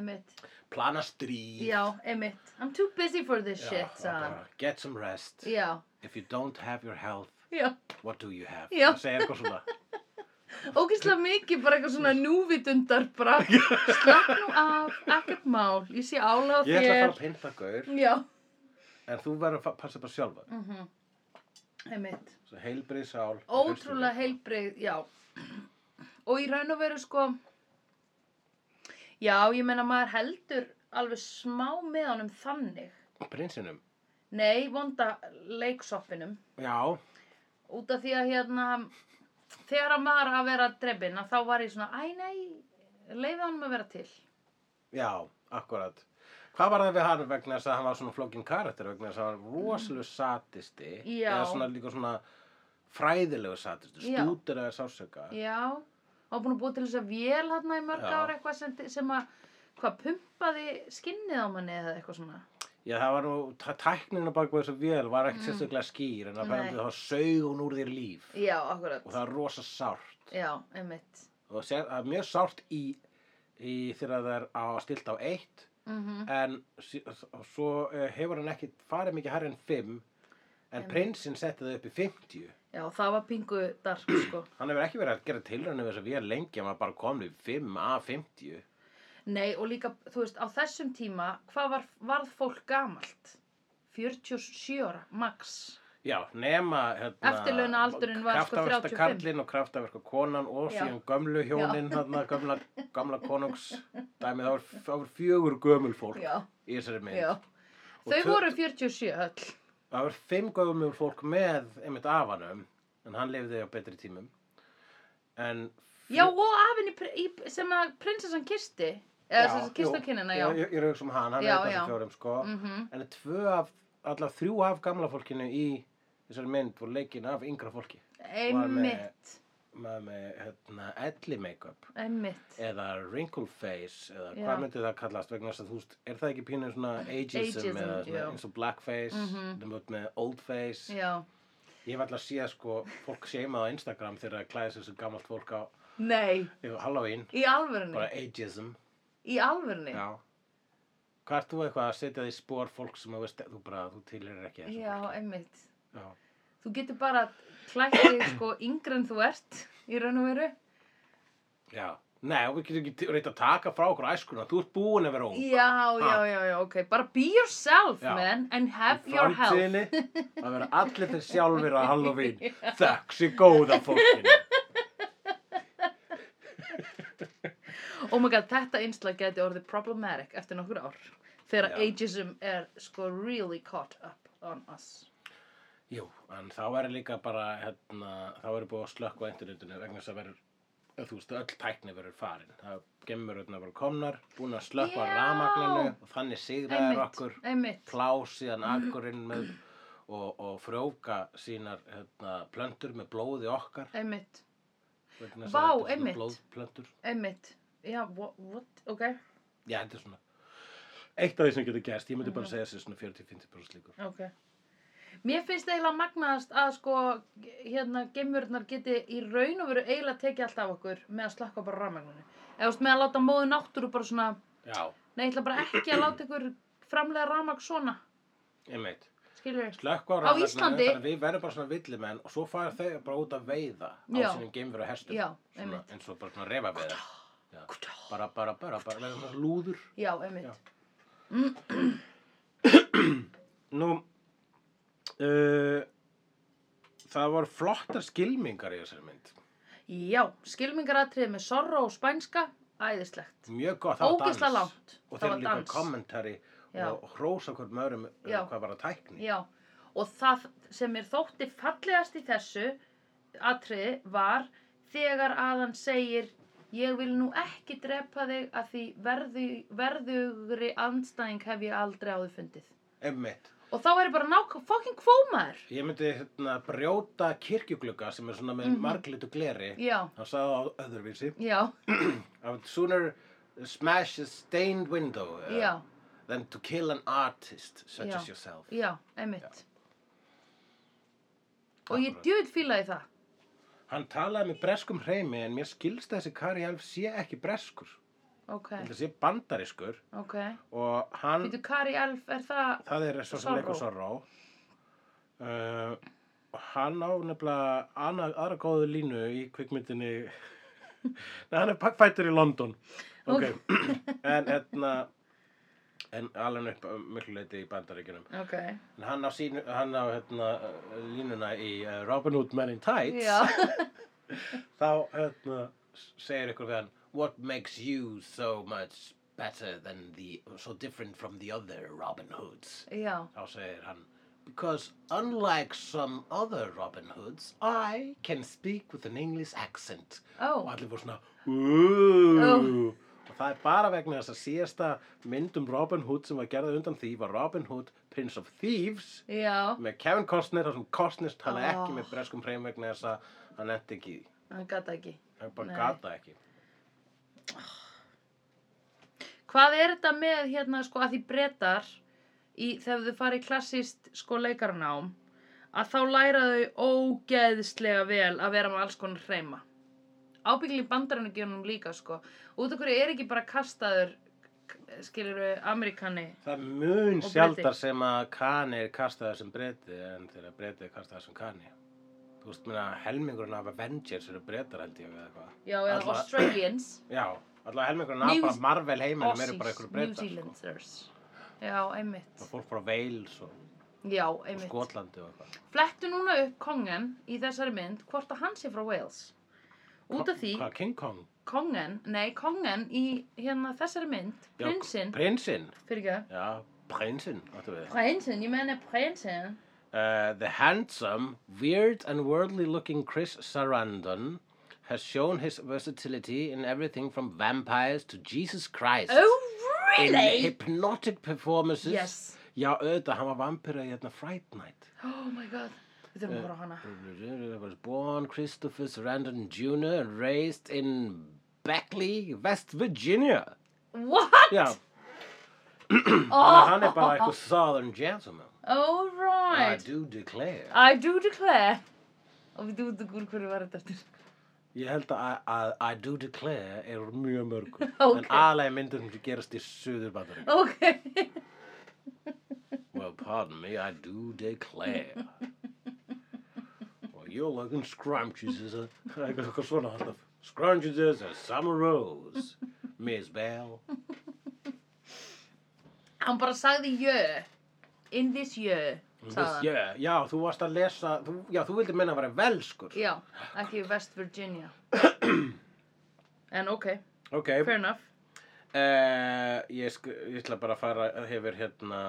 S1: einmitt.
S2: Plana stríð.
S1: Já, einmitt. I'm too busy for this
S2: Já,
S1: shit,
S2: og
S1: sagði hann.
S2: bara, Get some rest.
S1: Já,
S2: If you don't have your health,
S1: já.
S2: what do you have?
S1: Já.
S2: Það segir eitthvað svona.
S1: Ógislega mikið bara eitthvað svona núvitundar bara. Slapp nú af, ekkert mál. Ég sé ála á
S2: Ég
S1: þér.
S2: ætla að fara að pynta gaur,
S1: Já.
S2: en þú verður að fa- passa bara sjálfa.
S1: Mm Einmitt.
S2: Svo heilbrið sál. og
S1: Ótrúlega
S2: hlustum.
S1: heilbrigð, já. Og í raun og veru sko, já, ég meina maður heldur alveg smá með honum þannig.
S2: Prinsinum.
S1: Nei, vonda leiksoppinum.
S2: Já,
S1: Út af því að hérna, þegar hann var að vera drefin, að þá var ég svona, æ nei, leiði honum að vera til.
S2: já, akkurat. Hvað var það við hann vegna þess að hann var svona flókin karakter vegna þess að hann var rosalega satisti
S1: Já.
S2: eða svona líka svona fræðilegu satisti,
S1: Já.
S2: stútir eða sásöka
S1: Já, hann var búin að búa til þess að vél hérna í mörg
S2: Já.
S1: ára eitthvað sem, sem að, hvað, pumpaði skinnið á manni eða eitthvað svona.
S2: Já, það var nú, tæ- tæknin á bakveg þessu vél var ekkert sérstaklega skýr en
S1: Mm. Nei.
S2: apparently þá sög hún úr þér líf
S1: Já, akkurat.
S2: og það er rosa sárt
S1: Já, einmitt.
S2: og sér, það er mjög sárt í, í þegar það er á, stilt á eitt
S1: Mm
S2: en sí- og svo eh, hefur hann ekki farið mikið hærri en 5 en
S1: Einmitt.
S2: prinsinn setti það upp í 50
S1: Já, það var pingu dark, sko.
S2: Hann hefur ekki verið að gera tilraunum þess að við erum lengi að maður bara komið 5A50.
S1: Nei, og líka, þú veist, á þessum tíma, hvað var, varð fólk gamalt? 47 ára, max.
S2: Já, nema hérna,
S1: Eftirlaunaaldurinn var sko 35.
S2: karlinn og kraftaverka konan og
S1: Já.
S2: síðan gömlu hjónin, þarna, gamla, gamla konungs dæmi, það var, það var fjögur gömul fólk
S1: Já,
S2: í þessari mynd.
S1: já.
S2: Og
S1: Þau
S2: tvö-
S1: voru 47 öll.
S2: Það var fimm gömul fólk með einmitt afanum, en hann lifði á betri tímum. En
S1: Já, og afinni pr- í- sem að prinsessan kisti, eða sem sagt
S2: jú,
S1: kista kynina, já.
S2: Ég, ég, ég er að hugsa um hann, hann
S1: Já,
S2: er
S1: já.
S2: þetta fjórum sko.
S1: Mhm.
S2: En tvö af, allavega þrjú af gamla fólkinu í þessari mynd voru leikin af yngra fólki.
S1: Einmitt,
S2: Með, með hérna, elli make-up
S1: einmitt.
S2: eða wrinkle face eða
S1: Já.
S2: hvað myndi það kallast vegna þess að þú veist, er það ekki pínu svona ageism,
S1: Ageism,
S2: eða svona,
S1: já.
S2: eins og blackface, mm
S1: Mhm.
S2: með old face.
S1: Já,
S2: Ég hef alltaf séð sko fólk seimað á Instagram þegar það klæðir sig sem gamalt fólk á
S1: Nei,
S2: yfir Halloween,
S1: í alvörunni,
S2: bara ageism.
S1: í alvörunni.
S2: Já. Hvað ert þú eitthvað að setja því spór fólk sem þú veist, þú bara, þú tilherir ekki þessu
S1: Já,
S2: fólki?
S1: einmitt.
S2: Já.
S1: Þú getur bara klætt þig sko yngre en þú ert í raun og veru.
S2: Já. Nei, og við getum ekki t- reynt að taka frá okkur æskuna, þú ert búin að vera ung.
S1: Já, já, já, já, ok. Bara be yourself,
S2: Já.
S1: man, and have
S2: Í
S1: your health.
S2: framtíðinni, að vera allir þeir sjálfur á Halloween, þökk sér góða fólkinu.
S1: Oh my god, þetta innslag geti orðið problematic eftir nokkur ár. Þegar
S2: Já.
S1: ageism er sko really caught up on us.
S2: Jú, en þá verður líka bara, hérna, þá verður búið að slökka á internetinu vegna þess að verður, eða þú veist, öll tækni verður farin. Það gemur öllna bara komnar, búin að slökka á
S1: Já.
S2: ramagninu og þannig sigraður okkur
S1: einmitt.
S2: plá síðan akkurinn með og, og frjóka sínar hérna, plöntur með blóði okkar.
S1: Einmitt,
S2: vegna þess að
S1: Vá,
S2: þetta er svona
S1: einmitt.
S2: Blóðplöntur.
S1: einmitt. Já, what, what, ok,
S2: Já, þetta er svona, eitt af því sem getur gerst, ég myndi
S1: Mhm.
S2: bara segja sér svona 40-50% líkur.
S1: ok. Mér finnst eiginlega magnaðast að sko, hérna, gemurnar geti í raun og veru eiginlega tekið allt af okkur með að slökka bara rafmagninu. Eða, þú veist, með að láta móðu náttúru bara svona,
S2: Já,
S1: nei, ég ætla bara ekki að láta ykkur framlega rafmagn svona,
S2: einmitt.
S1: skilur ég.
S2: slökk á
S1: Á
S2: rafmagninu,
S1: Íslandi?
S2: þannig að við verðum bara svona villimenn og svo fara þau bara út að veiða
S1: Já.
S2: á sínum geimfur og hestum
S1: Já,
S2: svona,
S1: einmitt.
S2: eins og bara svona refa veiða bara, bara, bara, bara verðum svona lúður
S1: Já, einmitt.
S2: Já. nú uh, það voru flottar skilmingar í þessari mynd
S1: Já, skilmingaratrið með sorra og spænska, æðislegt.
S2: mjög gott, það var dans
S1: Ógisla langt.
S2: og
S1: það
S2: þeir
S1: var
S2: líka
S1: dans.
S2: kommentari
S1: Já.
S2: og hrósa hvort mörum
S1: Já.
S2: hvað var að tækni
S1: Já, og það sem mér þótti fallegast í þessu atriði var þegar að hann segir ég vil nú ekki drepa þig að því verðu, verðugri andstæðing hef ég aldrei áður fundið.
S2: einmitt
S1: Og þá er ég bara nákvæm fokkin kvómaður.
S2: Ég myndi hérna brjóta kirkjuglugga sem er svona með mm
S1: Mhm.
S2: -hmm. marglitu gleri.
S1: Já,
S2: Hann sagði það á öðruvísi.
S1: já,
S2: I would sooner smash a stained window uh,
S1: já,
S2: than to kill an artist such
S1: Já.
S2: as yourself.
S1: já, einmitt. Og ég
S2: Akkúrat.
S1: djöð fílaði það.
S2: Hann talaði með breskum hreimi en mér skilst að þessi Kari Elf sé ekki breskur.
S1: Ok,
S2: Þetta sé bandariskur
S1: ok.
S2: og hann,
S1: Býtu Kari Elf, er það...
S2: það er svo sem
S1: Sorró.
S2: leikur Sorró. Uh, og hann á nefnilega annað, aðra góðu línu í kvikmyndinni. Nei, hann er pakkfættur í London. Ok. en hérna, en alveg upp að miklu leiti í bandaríkjunum.
S1: Ok.
S2: En hann á, sínu, hann á hérna, uh, línuna í uh, Robin Hood Men in Tights
S1: Já.
S2: þá hérna, s- segir ykkur við hann What makes you so much better than the so different from the other Robin Hoods
S1: Já.
S2: þá segir hann Because unlike some other Robin Hoods I can speak with an English accent
S1: Ó.
S2: og allir voru svona "Ooh." og það er bara vegna þess að síðasta mynd um Robin Hood sem var gerða undan því var Robin Hood Prince of Thieves
S1: Já.
S2: með Kevin Costner þar sem Costner tala
S1: Oh.
S2: ekki með breskum hreim vegna þess að hann endi ekki í því.
S1: Hann gata ekki.
S2: hann bara
S1: Nei.
S2: gata ekki
S1: Hvað er þetta með hérna sko að því breytar í, þegar þau farið klassist sko leikarnám að þá læra þau ógeðslega vel að vera með alls konar hreima. Ábyggli bandarannugjörnum líka sko. Út okkur er ekki bara kastaður skilur við Amerikani.
S2: það er mun
S1: Og
S2: sjaldar
S1: Breti.
S2: sem að Kani er kastaður sem breytið en þegar breytið er kastaður sem Kani þú veist minna helmingurinn af Avengers eru breytar held ég eða eitthvað
S1: Já, eða
S2: Alla-
S1: Australians,
S2: já, allavega helmingurinn af
S1: New-
S2: bara Marvel heiminum eru bara
S1: Aussies, New
S2: einhverju breytar sko.
S1: Zealanders. Já, einmitt.
S2: og fólk frá Wales og,
S1: Já,
S2: og
S1: einmitt.
S2: Skotlandi og eitthvað
S1: Flettu núna upp kongen í þessari mynd hvort að hann sé frá Wales. Út af því,
S2: hvað, King Kong?
S1: kongen, nei, kongen í hérna þessari mynd,
S2: Já,
S1: prinsinn,
S2: prinsinn,
S1: fyrir ekki,
S2: já, prinsinn áttu við
S1: prinsinn, ég meina prinsinn,
S2: Uh, the handsome, weird, and worldly looking Chris Sarandon has shown his versatility in everything from vampires to Jesus Christ.
S1: oh
S2: In
S1: really?
S2: hypnotic performances.
S1: Yes.
S2: Já, auðvitað, hann var vampíra í hérna Fright Night.
S1: Oh my god, við þurfum að horfa á hana.
S2: Was born Christopher Sarandon Jr. and raised in Beckley, West Virginia.
S1: What?
S2: Já,
S1: oh,
S2: hann er bara eitthvað southern gentleman.
S1: All
S2: I
S1: right.
S2: do declare.
S1: I do declare. Og við dúðum úr hverju var þetta eftir.
S2: Ég held að, að I do declare er úr mjög mörgum.
S1: Ókei.
S2: En aðlega myndir sem gerast í söður bandarík.
S1: Ok.
S2: Well, pardon me, I do declare. well, you're looking scrumptious as a... Eitthvað eitthvað svona alltaf. Scrumptious as a summer rose, Miss Bell.
S1: Hann bara sagði jö. In this jö. sagði hann.
S2: Yeah, já, þú varst að lesa... Þú, já, þú vildi menna að vera velskur.
S1: Já, ekki West Virginia. en ok,
S2: Ok,
S1: fair enough.
S2: Uh, ég, sk- ég ætla bara að fara yfir hérna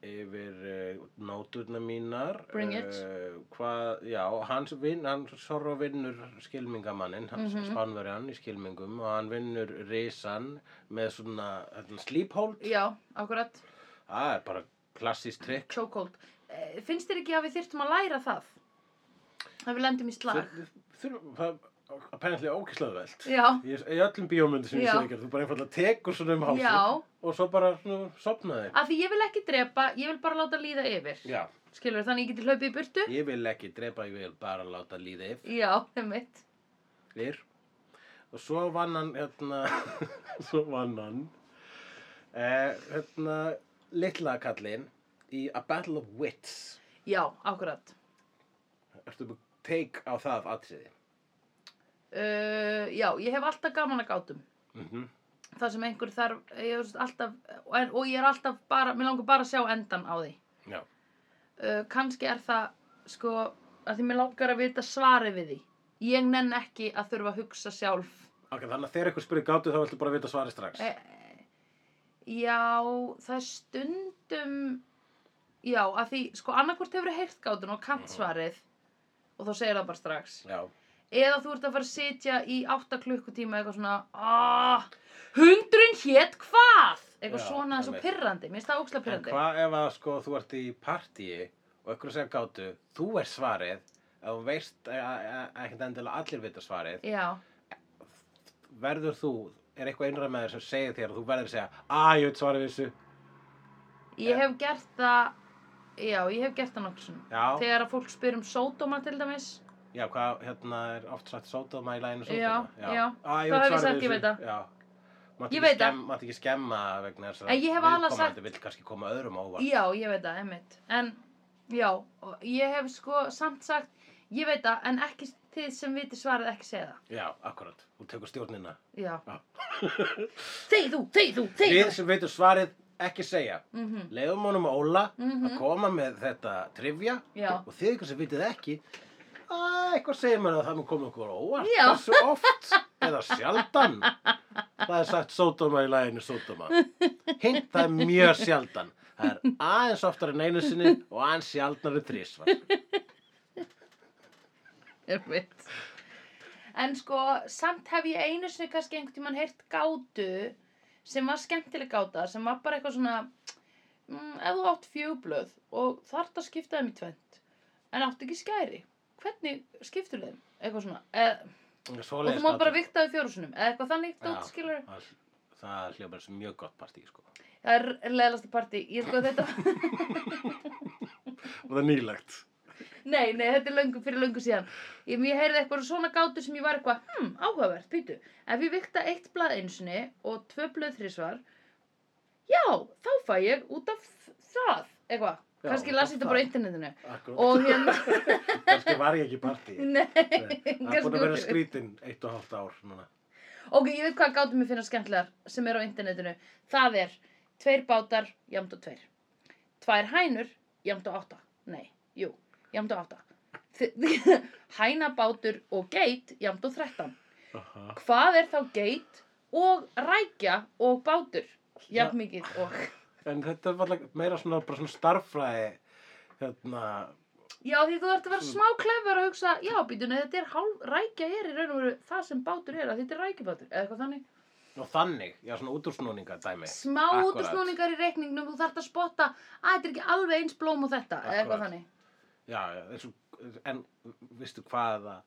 S2: yfir uh, nóturna mínar
S1: Bring it.
S2: Eh, hvað, já, hans vinn hann sorra vinnur skilmingamanninn hans
S1: Mhm.
S2: mm í skilmingum og hann vinnur risan með svona hérna, slíphóld
S1: Já, akkurat.
S2: það er bara klassísk trikk
S1: Chokehold. Eh, Finnst þér ekki að við þyrftum að læra það? Að við lendum í slag.
S2: Þur- þurfum það apparently ókislega veld
S1: Já,
S2: Ég, í öllum bíómyndu sem
S1: Já.
S2: ég sé ekki þú bara einfallega tekur svona um hálsum
S1: Já. Ah.
S2: og svo bara svona, sopnaði
S1: af því ég vil ekki drepa, ég vil bara láta líða yfir.
S2: já
S1: Skilur, þannig ég geti hlaupið í burtu?
S2: Ég vil ekki drepa, ég vil bara láta líða
S1: Já, einmitt.
S2: yfir. Og svo vann hann, hérna, svo vann hann, eh, hérna, litla kallinn í A Battle of Wits.
S1: Já, akkurat.
S2: Ertu búin take á það atriði?
S1: Uh, já, ég hef alltaf gaman að gátum.
S2: Mm
S1: Það sem einhver þarf, ég hef alltaf, en, og ég er alltaf bara, mér langar bara að sjá endan á því.
S2: Já.
S1: uh, kannski er það sko að því mér langar að vita svarið við því ég nenn ekki að þurfa að hugsa sjálf
S2: Ok, þannig að þegar ykkur spyrir gátu þá viltu bara vita svarið strax.
S1: e, já það er stundum já að því sko annarkvort hefur heyrt gátun og kant svarið og þá segir það bara strax
S2: Já.
S1: eða þú ert að fara að sitja í 8 klukkutíma eitthvað svona "Ah, hundrun hétt hvað eitthvað
S2: Já,
S1: svona eins og
S2: einmitt.
S1: pirrandi mér finnst það ókslega
S2: En
S1: pirrandi
S2: hvað ef að sko þú ert í partíi og ykkur segir gátu, þú er svarið, ef þú veist eh, eh, ekkert endilega allir vita svarið,
S1: já
S2: verður þú, er eitthvað innræð með þér sem segir þér og þú verður að segja, að ég veit svarið við þessu,
S1: Ég hef gert það, já, ég hef gert það nokkuð svona.
S2: Já.
S1: Þegar að fólk spyr um sódóma til dæmis.
S2: já hvað, hérna er oft sagt sótama í læginu
S1: Já,
S2: sótama,
S1: já.
S2: að
S1: Þá hef ég
S2: ég veit
S1: sagt,
S2: svarið
S1: ég
S2: við
S1: veit það.
S2: þessu, já, mátt
S1: Ég
S2: ekki,
S1: veit það.
S2: skemm, mátt ekki skemma vegna þess að
S1: En ég hef aðallega sagt-
S2: viðkomandi vill kannski koma öðrum á óvart,
S1: Já, ég veit það, einmitt. En, já, og ég hef sko samt sagt, ég veit það, en ekki þið sem viti svarið ekki segja það.
S2: já, akkurat, þú tekur stjórnina,
S1: Já.
S2: Já.
S1: Þegi þú, þegi þú, þegi
S2: við
S1: þú.
S2: sem veitum svarið ekki segja,
S1: Mhm.
S2: leiðum honum að óla
S1: Mhm.
S2: að koma með þetta trivja
S1: Já.
S2: og þið ykkur sem vitið ekki að eitthvað segir mér að það mun koma okkur á óvart
S1: Já.
S2: hversu oft eða sjaldan það er sagt sódóma í læginu sódóma hint það er mjög sjaldan það er aðeins oftar en einu sinni og aðeins sjaldnar en þrísvar
S1: Einmitt. En sko, samt hef ég einu sinni kannski einhvern tímann heyrt gátu sem var skemmtileg gáta, sem var bara eitthvað svona mm, ef þú átt fjögblöð og þarft að skipta þeim í tvent en átt ekki skæri, hvernig skiptur þeim? Eitthvað svona, eð, og þú má bara vikta þau fjórusunum eða eitthvað þannig, dótt skilur
S2: það hljópar sem mjög gott partí sko.
S1: það er leðlasti partí, ég sko þetta
S2: og það er nýlegt
S1: nei, nei, þetta er löngu fyrir löngu síðan ég, ég heyrði eitthvað svona gátu sem ég var eitthvað hmm, áhugavert, býtu, ef ég vikta eitt blað einsinni og tvö blöð þrísvar já, þá fæ ég út af það, eitthvað
S2: Já,
S1: kannski
S2: út
S1: las
S2: af
S1: ég þetta
S2: það.
S1: bara á internetinu
S2: Akkurat.
S1: og hérna,
S2: kannski var ég ekki í partí
S1: nei
S2: það er búin
S1: kannski
S2: að vera
S1: voru-
S2: skrítin eitt og hálft ár núna
S1: ok, ég veit hvað gátum mér finnast skemmtilegar sem eru á internetinu, það er tveir bátar, jamt og tveir tvær hænur, jamt og átta nei, jú, jamt og átta Þi- hænabátur og geit, jamt og þrettan
S2: Aha.
S1: hvað er þá geit og rækja og bátur jafn mikið og
S2: En þetta var like, meira svona, bara svona starffræði, hérna,
S1: já því þú ert að vera smá klefur að hugsa já býtunni þetta er hálf rækja er í raun og veru það sem bátur er að þetta er rækjubátur eða eitthvað þannig
S2: og þannig, já svona útúrsnúninga dæmi.
S1: smá
S2: Akkúrat.
S1: útúrsnúningar í reikningnum þú þarft að spotta að þetta er ekki alveg eins blóm og þetta eða eitthvað
S2: Akkúrat.
S1: þannig
S2: Já, já, þessu, en vistu hvaða,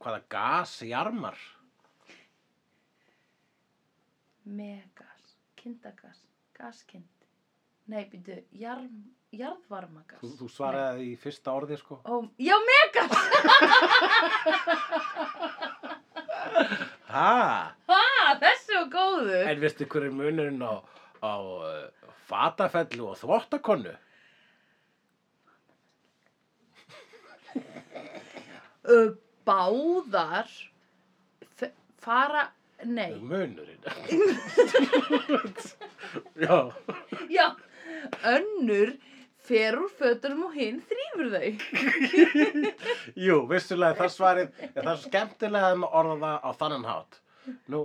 S2: hvaða gas jarmar?
S1: megas kindagas gaskind Nei, byrju, jarm, jarðvarmagas.
S2: Þú, þú svaraði í fyrsta orði sko.
S1: Ó, já, megas!
S2: Ha?
S1: Ha, þessi var góður.
S2: En veistu hver er munurinn á, á uh, fatafellu og þvottakonu?
S1: En... Báðar f- fara, nei,
S2: Munurinn. Já.
S1: já, önnur fer úr fötunum og hinn þrýfur þau.
S2: Jú, vissulega það svarið er það er svo skemmtilega um að orða það á þannan hátt. Nú,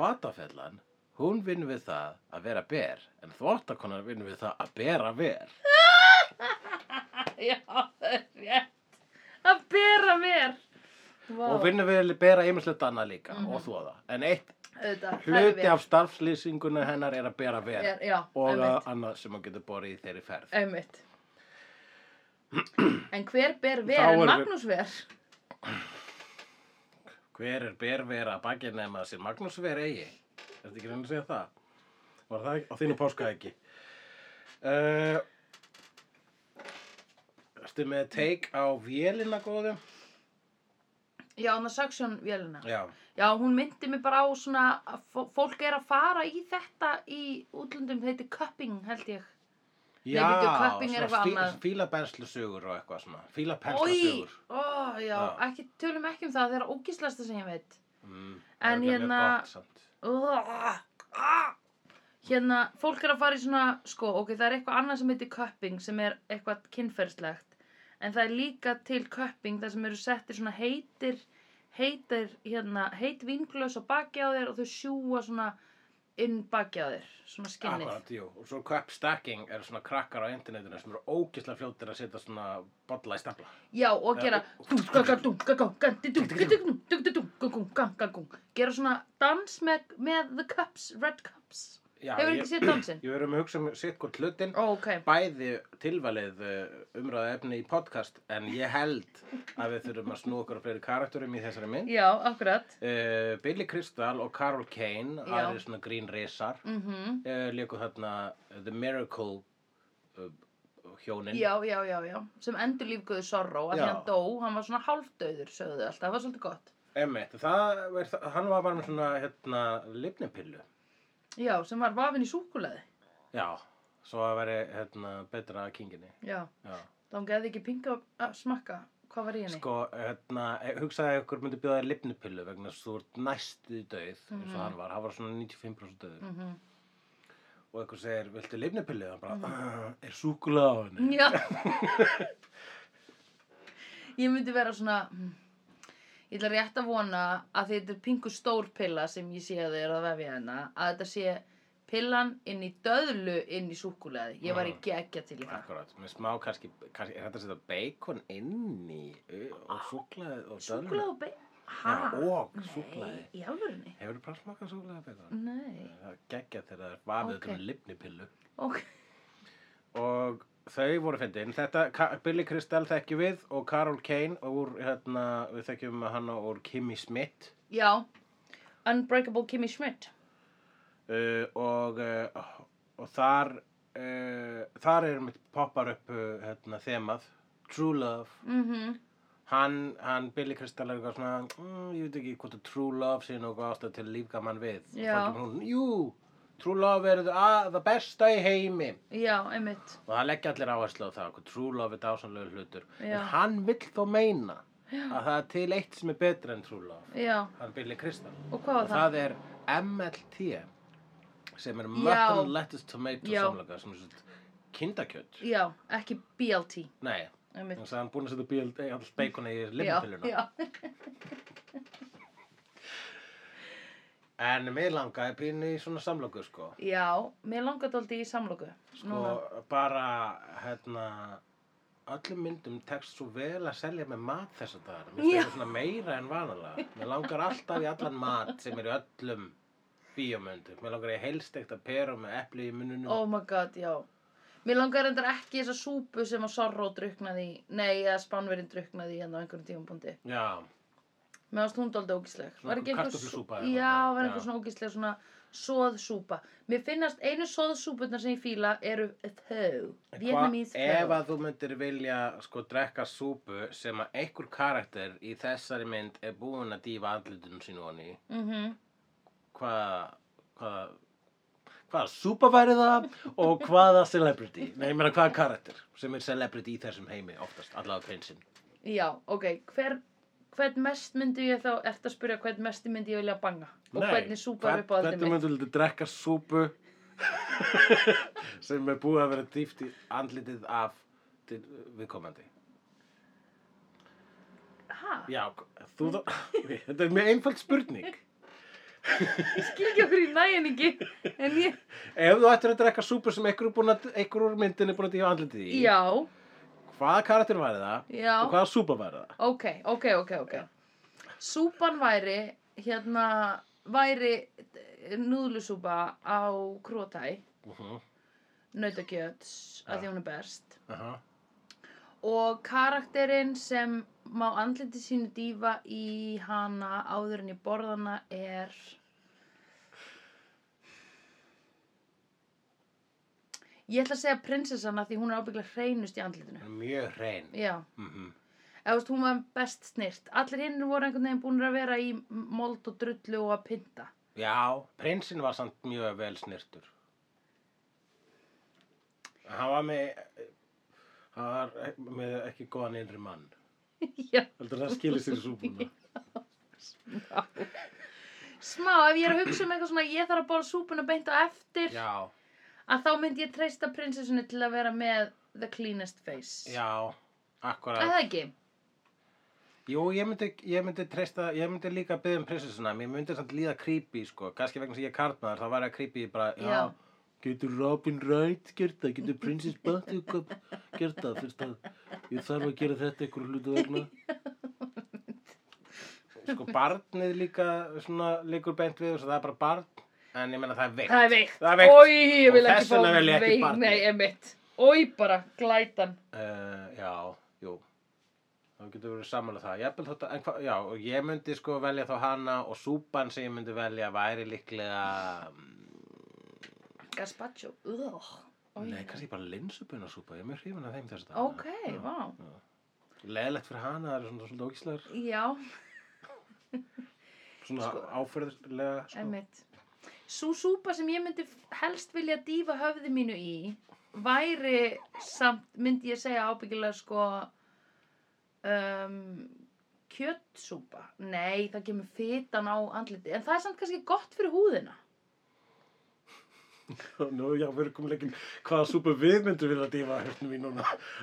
S2: fatafellan, hún vinn við það að vera ber, en þvottakonan vinn við það að bera ver.
S1: Já, það er rétt. Að bera mér. Vá,
S2: Og vinnum við að bera ymmislegt annað líka og þvoða. En eitt
S1: auðvitað, það er
S2: hluti af starfslýsinguna hennar er að bera ver
S1: Er- já,
S2: og
S1: einmitt.
S2: að annað sem hún getur borið í þeirri ferð.
S1: Einmitt. En hver ber ver
S2: Þá
S1: en
S2: erum við-
S1: Magnús ver?
S2: Hver er bervera að baki nema þessi Magnús ver eigi? Er þetta ekki reyna að segja það? Var það ekki- á þínu páska ekki? Uh, Ertu með teik á vélina góðum?
S1: Já, hann að saksjón vélina.
S2: Já.
S1: Já, hún myndi mig bara á svona, að fó- fólk er að fara í þetta í útlöndum, þetta heitir cupping, held ég. Nei, bíddu, cupping er eitthvað annað.
S2: fílabenslusugur og eitthvað svona.
S1: Oj,
S2: Fílapenslusugur.
S1: ó, já,
S2: Já.
S1: ekki, tölum ekki um það, það er ógíslasta sem ég veit.
S2: Mm,
S1: En
S2: örugglega mjög
S1: hérna-
S2: gott samt.
S1: Ugh, ah. Hérna, fólk er að fara í svona, sko, ok, það er eitthvað annað sem heitir cupping sem er eitthvað kynferðslegt. En það er líka til cupping þar sem eru settir svona heitir, heitir, hérna, heit vinglös á baki á þér og þau sjúa svona inn baki á þér, svona skinnið.
S2: Akkurat, jú. Og svo cup stacking er svona krakkar á internetinu sem eru ógislega fljóttir að setja svona bolla í stafla.
S1: Já, og
S2: Nei,
S1: gera
S2: og- gera svona dans með, með the cups, red cups Já,
S1: Hefur
S2: ég-
S1: ekki séð dansinn?
S2: Ég verðum að hugsa um sitt hvort hlutin
S1: Ó, ok,
S2: bæði tilvalið umræða efni í podcast en ég held að við þurfum að snú okkur að fleiri karakterum í þessari mynd.
S1: já, akkurat
S2: Uh, Billy Crystal og Carol Kane,
S1: Já.
S2: aðri svona grín risar,
S1: mm
S2: uh, léku þarna eh, The Miracle uh, hjónin.
S1: Já, já, já, já sem endur lífguðu Sorrow að
S2: Já.
S1: því hann dó, hann var svona hálfdauður sögðu þau alltaf, það var svolítið gott
S2: Einmitt, það er, það- hann var bara með svona hérna, lifnipillu.
S1: Já, sem var vafinn í súkulaði
S2: Já, svo að veri hérna, betra að kinginni.
S1: Já,
S2: Já.
S1: þá hann geði ekki pinga að smakka hvað var í henni
S2: Sko, hérna, hugsaði að ykkur myndi bjóða þér lifnipillu vegna þess að þú ert næstu döið eins og
S1: Mhm.
S2: hann var, hann var svona 95% döið
S1: mm
S2: og ykkur segir, viltu lifnipillu? Hann bara, "Ah, er súkulega á henni?
S1: Já Ég myndi vera svona hmm, Ég ætla rétt að vona að þetta er pingu stór pilla sem ég sé að þau eru að vefja hérna að þetta sé pillan inn í döðlu inn í súkuleði Ég var
S2: Mhm.
S1: ekki ekki til í það
S2: Akkurát, með smá kannski, kannski er þetta að setja bacon inn í ö, og súkulega og
S1: Súkuleði og bein
S2: Já,
S1: Ha?
S2: og súkulega
S1: Nei, í alvörunni?
S2: Hefur þú bara smakað súkulega bacon?
S1: Nei
S2: Það geggja þegar það er vafið
S1: Mm. Ok.
S2: okay. um lifnipillu
S1: Ok
S2: og þau voru fyndin þetta, Ka- Billy Crystal þekkjum við og Carol Kane úr, hérna, við þekkjum hana úr Kimmy Smith
S1: Já Unbreakable Kimmy Schmidt
S2: uh, og, uh, og þar uh, þar er mitt poppar upp uh, hérna, þemað True Love
S1: mm
S2: hann, hann Billy Crystal er eitthvað svona mm, ég veit ekki hvort að True Love sé nokkuð ástæð til að lífga mann við Og
S1: Já.
S2: þá kemur hún, jú, True Love er að, það besta í heimi
S1: Já, einmitt
S2: og það leggja allir áherslu á það hvað True Love er dásanlega hlutur
S1: Já.
S2: en hann vill þó meina að það er til eitt sem er betra en True Love
S1: Já,
S2: hann Billy Crystal
S1: og hvað var
S2: og það er MLT sem er Mutton Lettuce Tomato
S1: Já.
S2: samloka sem er svona kindakjöt
S1: Já, ekki BLT
S2: nei,
S1: Einmitt
S2: þannig að hann búin að setja bíl all bacon í limpiluna
S1: já, já.
S2: en mig langaði pínu í svona samloku sko,
S1: já, mér langar dóldi í samlóku
S2: sko bara hérna öllum myndum tekst svo vel að selja með mat þessa dagar mér
S1: Já.
S2: finnst það svona meira en vanalega mér langar alltaf í allan mat sem er í öllum bíómyndum mér langar í heilstekta peru með epli í mununum
S1: Oh my god, já Mér langar reyndar ekki þessa súpu sem að Sorro druknaði í Nei, að Spánverinn druknaði í hérna á einhverjum tímapunkti
S2: já,
S1: Mér varst hún dálítið ógísleg.
S2: Svona einhver kartöflusúpa
S1: Já,
S2: eða eitthvað,
S1: var
S2: já.
S1: einhver svona ógísleg svona soðsúpa. Mér finnast einu soðsúpurnar sem ég fíla eru þau. Vietnamese
S2: ef
S1: þau.
S2: að þú myndir vilja sko drekka súpu sem að einhver karakter í þessari mynd er búin að dýfa andlutinu sínu honni
S1: Mhm.
S2: hvað hvað hvaða súpa væri það og hvaða celebrity nei, ég meina hvaða karakter sem er celebrity í þessum heimi oftast, allavega prinsinn
S1: Já, ok. Hver, hvern mest myndi ég þá, ert að spyrja hvern mest myndi ég vilja banga? Og
S2: Nei,
S1: hvernig súpa er
S2: hvern-
S1: upp á aldrei
S2: hvernig
S1: mitt?
S2: myndir þú drekka súpu sem er búið að vera dýft í andlitið af til viðkomandi
S1: Hæ?
S2: já, þú þá þetta er mjög einfald spurning
S1: Ég skil ekki okkur í næjan ekki. En ég,
S2: ef þú ættir að drekka súpu sem einhver, er búinn að, einhver úr myndin er búin að dýfa andlitið í
S1: já,
S2: hvaða karakter væri það
S1: já.
S2: og hvaða súpa væri það
S1: Ok, ok, ok, ok. Súpan væri, hérna, væri eh, núðlusúpa á krótæ,
S2: uh -huh.
S1: nautakjöts,
S2: Ja.
S1: að því hún er best. Og karakterinn sem má andliti sínu dýfa í hana áður en í borðana er... Ég ætla að segja prinsessana því hún er ábygglega hreinust í andlitinu.
S2: mjög reyn
S1: Já.
S2: mm -hmm.
S1: eða þú veist, hún var best snirt allir hinn voru einhvern veginn búin að vera í mold og drullu og að pynta
S2: Já, prinsinn var samt mjög vel snirtur. Hann var með, hann var með ekki góðan innri mann.
S1: já,
S2: Heldur það skilir sér í súpuna.
S1: smá, ef ég er að hugsa um eitthvað svona ég þarf að bóla súpuna beint á eftir
S2: Já,
S1: að þá myndi ég treysta prinsessinu til að vera með the cleanest face
S2: já,
S1: Er
S2: akkurat.
S1: það ekki?
S2: Jú, ég myndi, ég myndi treysta, ég myndi líka byggja um prinsessuna, mér myndi samt líða creepy, sko. Kanski vegna sem ég er kartmaður, þá var ég creepy bara, já,
S1: Já.
S2: getur Robin Wright gert það, getur prinsess Buttercup gert það, fyrst að ég þarf að gera þetta einhverju hlutu vegna. Sko, barnið líka, svona, líkur beint við, þess að það er bara barn, en ég meina það er veikt.
S1: Það er veikt.
S2: Það er veikt.
S1: Ói, ég
S2: Og
S1: vil
S2: þess
S1: ekki fá
S2: vegna vil ég ekki barnið.
S1: Nei, emitt. Ói, bara, glætan.
S2: Uh, já, jú þá getur verið samanlega það Jafnvel þótt að, en hvað, já, og ég myndi sko velja þá hana og súpan sem ég myndi velja væri líklega mm,
S1: Gazpacho. Ugh. Oj.
S2: nei, kannski bara linsupuna súpa ég er mjög hrifin af þeim þess að
S1: Ok, vá.
S2: leðilegt fyrir hana, það eru svona svolítið ógíslegar
S1: Já,
S2: svona
S1: Sko-
S2: áferðlega sko.
S1: Einmitt. Sú súpa sem ég myndi helst vilja dýfa höfði mínu í væri samt, myndi ég segja ábyggilega sko um, kjötsúpa. Nei, það kemur fitan á andliti. En það er samt kannski gott fyrir húðina.
S2: nú, já, við erum komin ekki hvaða súpa við myndum vilja dýfa hérna mín núna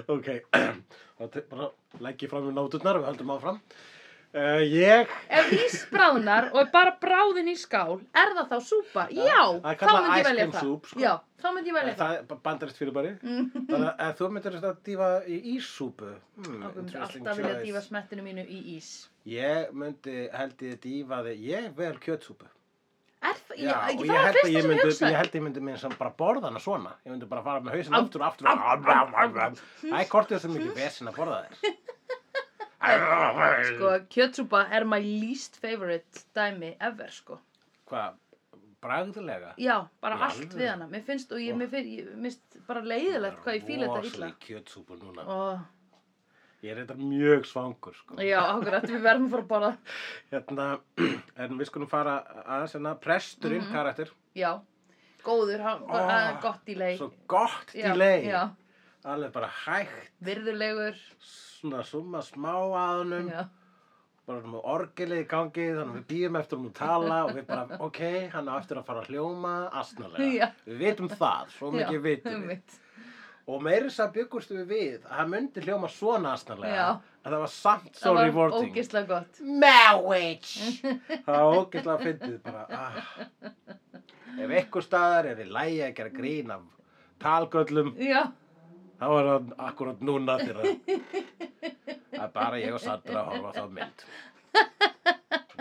S2: ok, þá te- bara legg ég fram í nóturnar og við höldum áfram uh, ég
S1: Ef ís bráðnar og er bara bráðin í skál, er það þá súpa? Já,
S2: það er
S1: þá
S2: kallað
S1: myndi ég
S2: ice
S1: velja
S2: cream
S1: það.
S2: soup, sko.
S1: Já, þá myndi ég velja
S2: En
S1: það.
S2: það er bandarist fyrir bari
S1: Mm.
S2: Þannig að ef þú myndir að dýfa í íssúpu hmm,
S1: Okkur myndi
S2: interesting
S1: alltaf vilja
S2: choice.
S1: dýfa smettinu mínu í ís.
S2: Ég myndi held ég dýfa þig Ég vel kjötsúpu
S1: Er það, já,
S2: og
S1: ég,
S2: ég
S1: það var
S2: held, að
S1: fyrsta
S2: ég,
S1: sem ég
S2: myndi,
S1: hugsaði.
S2: ég held að ég myndi minn sem bara borða hana svona Ég myndi bara fara með hausinn
S1: Am-
S2: aftur og aftur Það er kortið sem mikið vesinn að borða þér
S1: Sko, kjötsúpa er my least favorite dæmi ever, sko.
S2: Hvað, bragðlega?
S1: Já, bara
S2: Í
S1: allt
S2: alvöru?
S1: við hana. Mér finnst, og ég, mér finnst, ég, mér finnst bara leiðilegt hvað ég fíla þetta illa.
S2: Rosaleg kjötsúpu núna
S1: Ó,
S2: Ég er þetta mjög svangur sko
S1: já, okkur, þetta við verðum að fara að borða.
S2: Hérna, en við skulum fara aðeins hérna Presturinn
S1: Mhm.
S2: karakter
S1: Já, góður, hann
S2: Ó,
S1: var oh, gott í lei.
S2: Svo gott
S1: Já,
S2: delay.
S1: Já,
S2: Alveg bara hægt,
S1: virðulegur.
S2: svona summa smá aðunum,
S1: Já,
S2: bara með orgelið í gangi, þannig að við býjum eftir hún að tala og við bara, ok, hann á eftir að fara að hljóma astnalega.
S1: Já.
S2: Við vitum það, svo
S1: já,
S2: mikið vitum við.
S1: einmitt.
S2: Og meiri sá byggust við við að hann myndi hljóma svona astnalega,
S1: Já.
S2: að það var samt svo
S1: Það var
S2: rewarding.
S1: ógeðslega gott.
S2: Marriage! það var ógeðslega fyndið bara. Ah. Ef einhver staðar er í lægi að gera grín af talgöllum,
S1: Já,
S2: Það var hann akkurat núna þegar að að bara ég og Sandra horfa á þá mynd.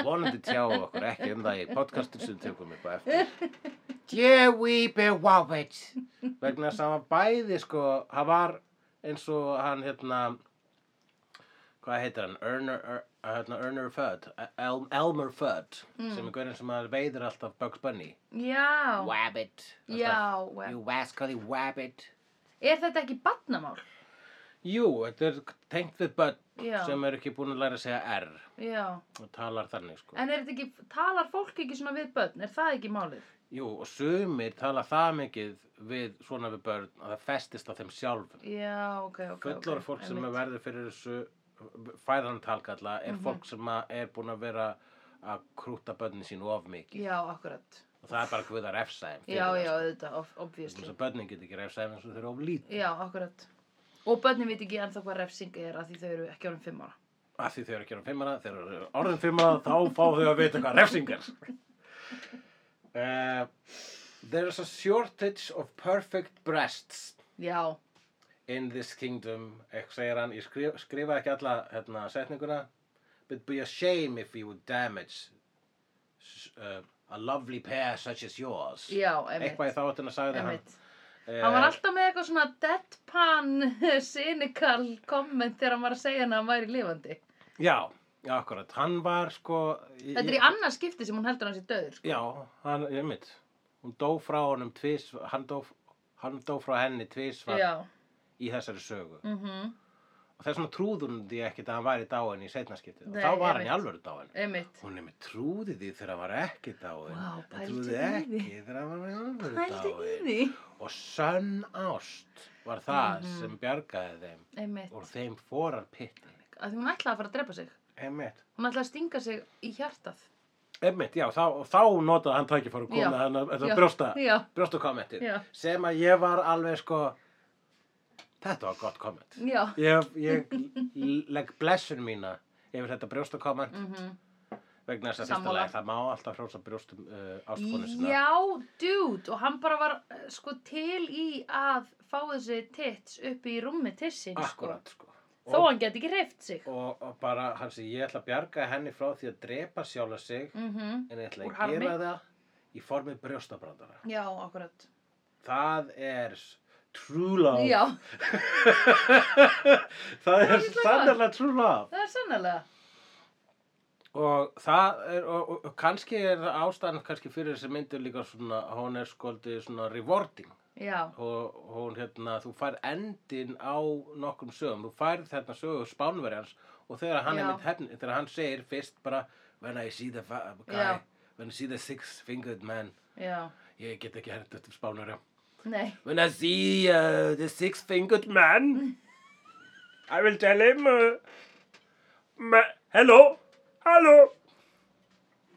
S2: Vonandi tjáum okkur ekki um það í podcastin sem tökum upp á eftir. Joey Bewowit. Vegna þess að hann var bæði sko, hann var eins og hann hérna hvað heitir hann, Erner, er, hérna, Erner Fudd, El, Elmer Fudd, sem er gaurin sem að veiður alltaf Bugs Bunny.
S1: Hmm. Já,
S2: Wabbit. og
S1: já,
S2: stuff.
S1: web.
S2: You rascally wabbit.
S1: er þetta ekki badnamál?
S2: Jú, þetta er tengt við börn
S1: Já,
S2: sem er ekki búin að læra að segja R
S1: já.
S2: og talar þannig, sko.
S1: En er þetta ekki, talar fólk ekki svona við börn? Er það ekki málið?
S2: Jú, og sumir tala það mikið við svona við börn að það festist á þeim sjálfum.
S1: Já, ok, ok.
S2: Fullora
S1: ok,
S2: fólk sem
S1: einmitt. Mhm.
S2: er verður fyrir þessu fæðan talkalla er fólk sem að er búin að vera að krúta börnin sín of mikið.
S1: Já, akkurat.
S2: Og það er bara hvað að refsa þeim. fyrir
S1: Já,
S2: það,
S1: já,
S2: sko.
S1: auðvitað, ob-
S2: Þess
S1: obviously.
S2: að börnin get ekki refsa þeim eins og þau eru of lítið.
S1: Já, akkurat. Og börnin veit ekki ennþá hvað refsing er að því þau eru ekki ánum fimm ára.
S2: Af því þau eru um ekki orðin fimmara, þegar þau eru orðin fimmara þá fá þau að vita hvað refsing er. Uh, there is a shortage of perfect breasts.
S1: Já,
S2: in this kingdom eitthvað segir hann, ég skrif, skrifa ekki alla hérna, setninguna but be a shame if you would damage s- uh, a lovely pair such as yours
S1: já,
S2: eitthvað í
S1: einmitt.
S2: þáttina sagði hann
S1: Einmitt.
S2: eh,
S1: Hann var alltaf með eitthvað svona deadpan cynical comment þegar hann var að segja hann að hann væri lifandi.
S2: já, já, akkurat, hann var sko
S1: Þetta er í annars skipti sem hún heldur hans í döður, sko.
S2: já, hann, ég mitt hún dó frá honum tvís hann dó, hann dó frá henni tvísvar
S1: Já,
S2: í þessari sögu
S1: mhm,
S2: og þess vegna trúður hún því ekkert að hann væri dáin í setnaskiptið og
S1: Nei,
S2: þá var hann í
S1: einmitt.
S2: alvöru dáin
S1: einmitt.
S2: Hún er með trúði því þegar hann var ekki dáin.
S1: Vá,
S2: En
S1: pældu
S2: trúði
S1: í því.
S2: ekki þegar hann var með alvöru
S1: Pældu í
S2: dáin.
S1: því.
S2: Og sönn ást var það
S1: Mhm.
S2: sem bjargaði þeim
S1: Einmitt.
S2: úr þeim forar pitti.
S1: Að því hún ætlaði að fara að drepa sig.
S2: Einmitt.
S1: Hún ætlaði að stinga sig í hjartað.
S2: Einmitt, já, þá, og þá notaði hann tækifæri og
S1: Já.
S2: komið hann að
S1: Já,
S2: brjósta,
S1: Já,
S2: brjósta kommentið.
S1: Já.
S2: Sem að ég var alveg sko, þetta var gott komment.
S1: já.
S2: Ég, ég legg blessun mína yfir þetta brjósta komment
S1: Mm
S2: vegna þess að fyrsta
S1: Sammála.
S2: leg það má alltaf hrósa brjóstum uh, ástkonu sinna.
S1: Já, dude, og hann bara var eh, sko til í að fá þessi tits upp í rúmi tissin, sko.
S2: Akkurat, sko.
S1: Þó
S2: Og-
S1: hann geti ekki hreift sig.
S2: og, og bara hann segir ég ætla að bjarga henni frá því að drepa sjálfa sig
S1: Mm
S2: en ég ætla
S1: Úr
S2: að
S1: harmi.
S2: gera það í formi brjóstabrandara
S1: Já, akkurat.
S2: það er s- true love
S1: Já,
S2: það er
S1: ætla það.
S2: sannlega true love
S1: það er sannlega.
S2: og það er og, og, og kannski er það ástæðan kannski fyrir þessi myndir líka svona hún er skoldið svona rewarding
S1: Já,
S2: og hún hérna þú fær endin á nokkrum sögum þú fær þetta sögu spánverjans og þegar hann,
S1: Já.
S2: einmitt, hefn, þegar hann segir fyrst bara when I see the fa- guy
S1: Já.
S2: when I see the six fingered man
S1: já.
S2: ég get ekki hægt eftir spánverja
S1: Nei,
S2: when I see uh, the six fingered man I will tell him uh, ma- hello hello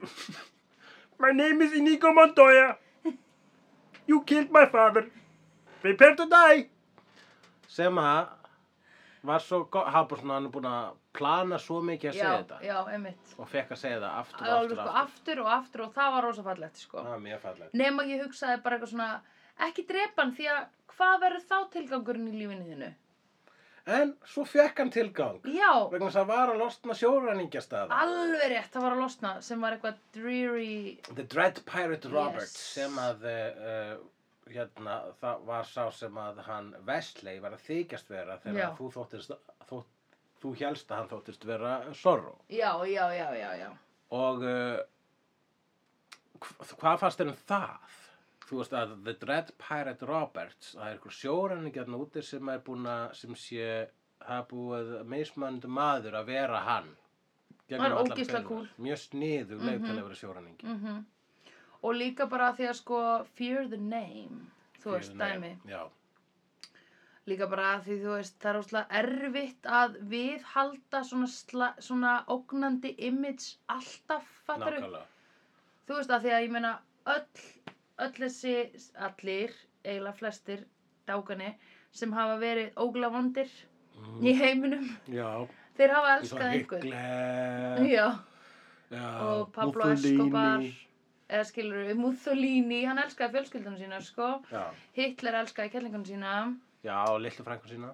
S2: my name is Inigo Montoya you killed my father prepare to die sem að var svo gott, hann bara svona hann er búin að plana svo mikið að segja
S1: já,
S2: þetta
S1: já, einmitt.
S2: og fekk að segja það aftur og
S1: Alveg sko
S2: aftur og aftur
S1: aftur og aftur og það var rosa fallegt, sko.
S2: það er mjög fallegt
S1: Nefn að ég hugsaði bara eitthvað svona, ekki drepa hann því að hvað verður þá tilgangurinn í lífinu þínu?
S2: en svo fekk hann tilgang
S1: Já,
S2: vegna þess að var að losna sjóræningjastað
S1: Alveg rétt, það var að losna sem var eitthvað dreary
S2: The Dread Pirate Robert
S1: Yes.
S2: sem að uh, hérna, það var sá sem að hann Wesley var að þykjast vera
S1: Já.
S2: þegar að þú þóttist þú, þú hélst að hann þóttist vera Sorrow
S1: Já, já, já, já, já
S2: og uh, hv- hvað fannst þér um það? Þú veist að The Dread Pirate Roberts það er einhver sjóræningjarn úti sem er búin að sem sé hafa búið mismöndu maður að vera hann
S1: Var
S2: Gegnum allar
S1: ógeðslega
S2: pelurnar. mjög sniðu leið til að vera sjóræningi
S1: mm Og líka bara því að sko Fear the name Þú
S2: Fyrir
S1: veist,
S2: nei,
S1: dæmi
S2: já,
S1: Líka bara því þú veist, það er óslega erfitt að viðhalda svona, sla, svona ógnandi image alltaf fattar
S2: nákvæmlega
S1: Þú veist að því að ég meina öll, öll þessi allir, eiginlega flestir dágani sem hafa verið óglavandir
S2: Mhm.
S1: í heiminum
S2: Já,
S1: Þeir hafa
S2: eins og
S1: elskað einhvern
S2: Hitler,
S1: Já
S2: já,
S1: og Pablo Escobar eða skilur við Mussolini, hann elskaði fjölskyldunum sína sko,
S2: Já,
S1: Hitler elskaði kellingunum sína
S2: já og litlu frængur sína.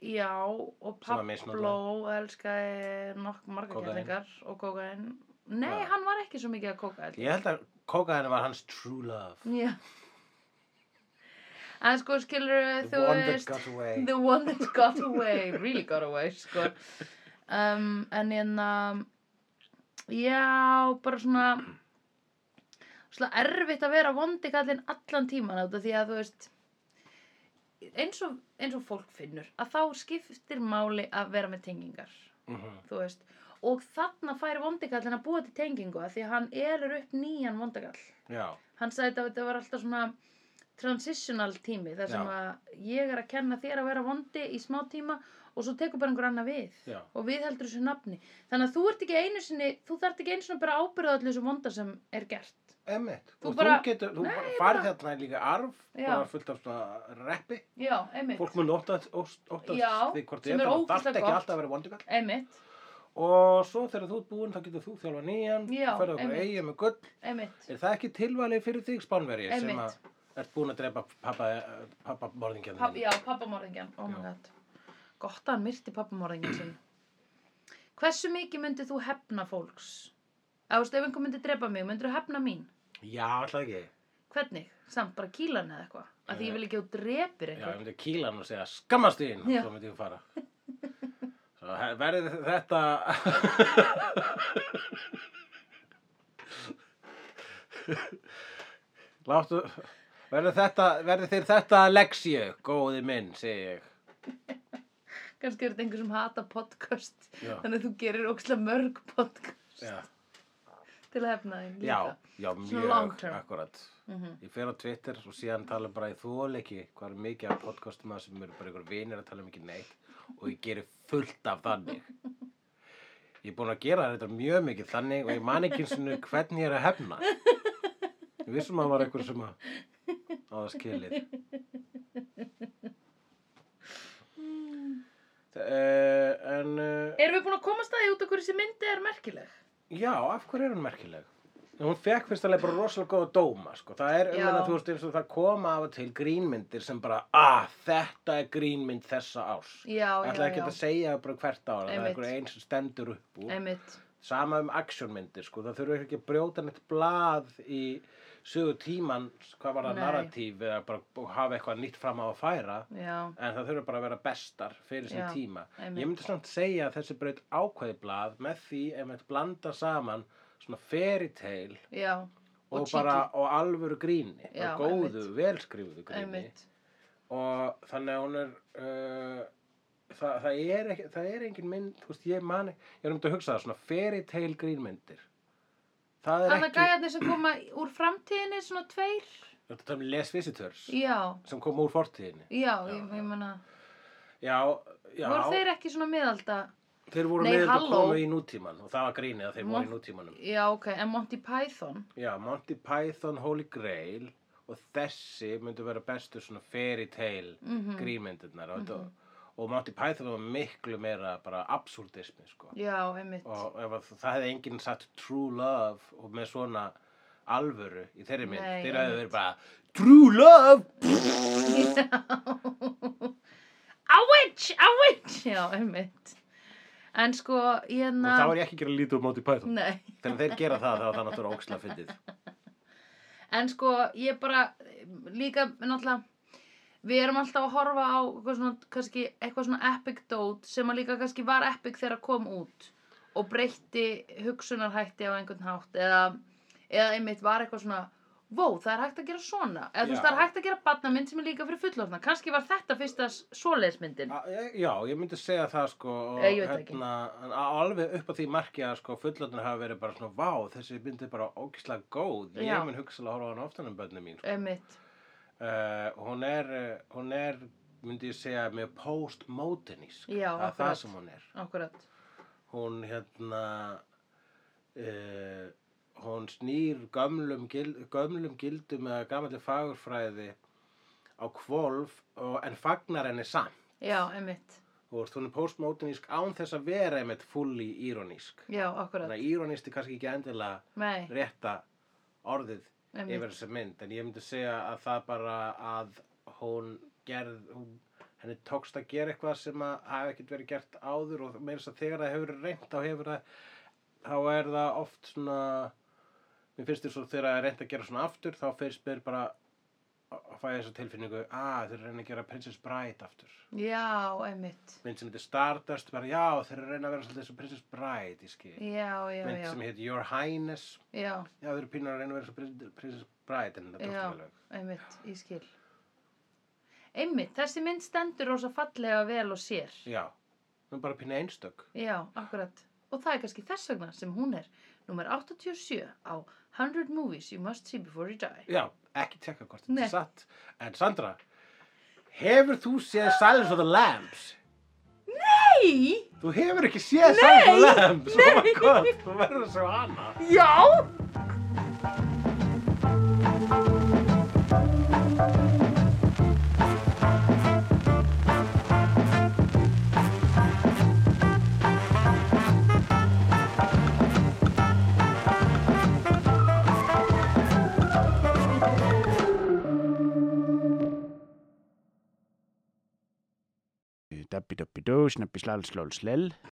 S1: já, og
S2: Sem að misnotaði.
S1: Pablo elskaði nokk marga
S2: Kókaín.
S1: kellingar og kókaðin nei,
S2: Já.
S1: hann var ekki svo mikið að kóka held ég.
S2: Ég held að kókaðinu var hans true love.
S1: já en sko skilur við,
S2: The
S1: þú
S2: one that
S1: veist
S2: got away.
S1: the one that got away really got away sko um, en hérna já, bara svona svona erfitt að vera vondi kallinn allan tíman át af því að þú veist eins og, eins og fólk finnur að þá skiptir máli að vera með tengingar
S2: Mhm.
S1: þú veist og þarna fær vondikallin að búa til tengingu af því að hann elur upp nýjan vondikall
S2: Já,
S1: hann sagði þetta, þetta var alltaf svona transitional tími þar sem
S2: Já.
S1: að ég er að kenna þér að vera vondi í smá tíma og svo tekur bara einhver annað við
S2: já,
S1: og við heldur þessu nafni þannig að þú ert ekki einu sinni þú þarft ekki einu sinni að bara ábyrða allir þessu vonda sem er gert
S2: emmitt.
S1: Þú
S2: Og
S1: bara-
S2: þú getur, þú
S1: Nei,
S2: bara
S1: ég
S2: farið
S1: bara-
S2: þarna í líka arf,
S1: Já.
S2: bara fullt af svona reppi.
S1: já, einmitt,
S2: Fólk mun óttast, óst, óttast
S1: Já,
S2: því hvort
S1: sem
S2: þið
S1: er
S2: það
S1: ógeðslega
S2: þarf ekki
S1: gott.
S2: alltaf að vera vondikall.
S1: einmitt,
S2: Og svo þegar þú ert búinn þá getur þú þjálfa nýjan,
S1: Já,
S2: ferða okkur
S1: einmitt.
S2: eigið með gull.
S1: einmitt.
S2: Er það ekki tilvalið fyrir þig spánverið sem
S1: Einmitt.
S2: að ert búinn að drepa pappa, pappa morðingjarnir?
S1: Pab, já, pappamorðingjan, oh my
S2: Já.
S1: god gott að hann myrti pappamorðingjan sinn hversu mikið myndið þú hefna fólks eða þú veist, ef einhver myndið drepa mig, myndir þú hefna mín
S2: Já, alltaf ekki.
S1: hvernig, samt bara kílan eða eitthvað af því ég vil ekki að þú drepir
S2: Eh, Já, ég
S1: einhver
S2: myndi kýla hann og segja skammast þín,
S1: Já.
S2: svo myndi ég fara. Svo he- verði þetta... Láttu... Verði, þetta, verði þeir þetta leksju, góði minn, segi ég.
S1: kannski er þetta einhver sem hata podcast
S2: Já.
S1: þannig að þú gerir ókslega mörg podcast
S2: Já,
S1: til að hefna þeim
S2: já,
S1: líka
S2: já
S1: Svona long
S2: mjög
S1: term.
S2: akkurat.
S1: Mhm.
S2: Ég fer á Twitter og síðan tala bara í þóleiki hvað er mikið af podcastum að sem eru bara ykkur vinir að tala um ekki neitt og ég geri fullt af þannig. Ég er búin að gera þetta mjög mikið þannig og ég man ekki eins og hvernig ég er að hefna. Ég vissum að það var einhver sem að á það skilið. Uh, en uh,
S1: erum við búin að komast að því út af hverju þessi myndi er merkileg
S2: já, af hverju er hún merkileg? Hún fekk fyrst alveg bara rosalega góða dóma, sko. Það er,
S1: Já.
S2: um þú veist, eins og það koma af og til grínmyndir sem bara, ah, þetta er grínmynd þessa árs.
S1: já,
S2: ætla ekki
S1: já,
S2: að segja bara hvert ára, það er
S1: Einmitt.
S2: einhver einn sem stendur upp úr.
S1: já einmitt,
S2: Sama um actionmyndir, sko, það þurfa ekki að brjóta neitt blað í sögu tímans, hvað var það
S1: Nei.
S2: narratíf eða bara b- hafa eitthvað nýtt fram á að færa,
S1: já,
S2: en það þurfa bara að vera bestar fyrir sinn
S1: Já,
S2: tíma.
S1: einmitt.
S2: Ég myndi samt segja að þessi braut ákveði blað með því ef maður blanda saman svona fairy tale
S1: já
S2: og,
S1: Og
S2: bara og alvöru gríni,
S1: Já,
S2: bara góðu,
S1: einmitt.
S2: velskrifuðu gríni
S1: einmitt,
S2: og þannig að hún er uh, það, það er ekki, það er engin mynd þú veist, ég mani, ég er um þetta að hugsa það svona fairy tale grínmyndir það er
S1: þannig að
S2: ekki,
S1: gæjarnir sem koma úr framtíðinni svona tveir
S2: þetta er um Les Visitors
S1: já,
S2: sem kom úr fortíðinni
S1: já,
S2: Já,
S1: ég,
S2: já.
S1: ég menna
S2: já, já,
S1: voru þeir ekki svona miðalda
S2: þeir voru
S1: Nei,
S2: með þetta
S1: halló.
S2: komu í nútíman og það var grínið að þeir
S1: Mont-
S2: voru í nútímanum
S1: já, ok, en Monty Python
S2: já, Monty Python, Holy Grail og þessi myndu vera bestu svona fairy tale
S1: Mhm.
S2: grínmyndirnar og, mm og Monty Python var miklu meira bara absúrdismi sko
S1: já, einmitt
S2: og ef að það hefði enginn satt true love og með svona alvöru í þeirri mynd
S1: Nei,
S2: þeir hefði
S1: einmitt.
S2: verið bara true love
S1: a witch, a witch já, einmitt en sko,
S2: og
S1: hérna
S2: þá var ég ekki að gera lítið um Monty Python
S1: nei
S2: þegar þeir gera það þá er það náttúrulega óksla fyndið
S1: En sko, ég bara líka, náttúrulega, við erum alltaf að horfa á eitthvað svona, kannski, eitthvað svona epic dót sem að líka kannski var epic þegar að kom út og breytti hugsunarhætti á einhvern hátt eða, eða einmitt var eitthvað svona, vó, það er hægt að gera svona. Eða þú veist,
S2: Já.
S1: það er hægt að gera barnamynd sem er líka fyrir fullofna. Kannski var þetta fyrsta svoleiðismyndin.
S2: A- Ah, eh, já, ég myndi segja það sko og hérna,
S1: Ég- ég veit það ekki.
S2: en á- alveg upp á því marki að sko fullotnir hafa verið bara svona vá, þessi mynd er bara óksla góð
S1: Já. Eh.
S2: ég mun hugsalega horfa á hann oftan um börnum mín sko.
S1: Einmitt.
S2: uh, hún er, eh, hún er myndi ég segja með postmodernísk
S1: Já,
S2: Ah, það er
S1: akkurat.
S2: það sem hún er
S1: Akkurat.
S2: hún hérna uh, hún snýr gömlum, gild, gömlum gildum eða gamalli fagurfræði á kvolf og, en fagnar henni samt
S1: Já, einmitt.
S2: Þú veist, hún er postmodernísk án þess að vera einmitt fulli íronísk
S1: Já, akkurat.
S2: þannig að íronist er kannski ekki endilega
S1: Nei,
S2: rétta orðið yfir
S1: einmitt.
S2: þessa mynd en ég myndi segja að það bara að hún gerð hún, henni tókst að gera eitthvað sem að hafi ekkert verið gert áður og meira þess að þegar það hefur verið reynt þá hefur það þá er það oft svona mér finnst þér svo þegar það er reynt að gera svona aftur þá finnst mér bara að fæ þessa tilfinningu að þeir eru að reyna að gera Princess Bride aftur
S1: Já, einmitt.
S2: mynd sem heitir Stardust bara já þeir eru að reyna að vera svolítið eins og Princess Bride ég skil
S1: Já, já,
S2: mynd
S1: já.
S2: sem heitir Your Highness
S1: Já,
S2: já þeir eru pínur að reyna að vera eins og Prin- Princess Bride en þetta er
S1: Já.
S2: alveg
S1: einmitt, ég skil. Einmitt, þessi mynd stendur rosa fallega vel og sér.
S2: já það er bara pínu einstök
S1: Já, akkurat. Og það er kannski þess vegna sem hún er nummer 87 á 100 movies you must see before you die.
S2: já ekki tjekka hvort þetta
S1: Nei.
S2: er satt en Sandra hefur þú séð Silence of the Lambs
S1: Nei!
S2: þú hefur ekki séð Silence of the Lambs oh my god þú verður að sjá hana
S1: Já!
S4: Dabbi dabbi dó, snabbi slal slól slell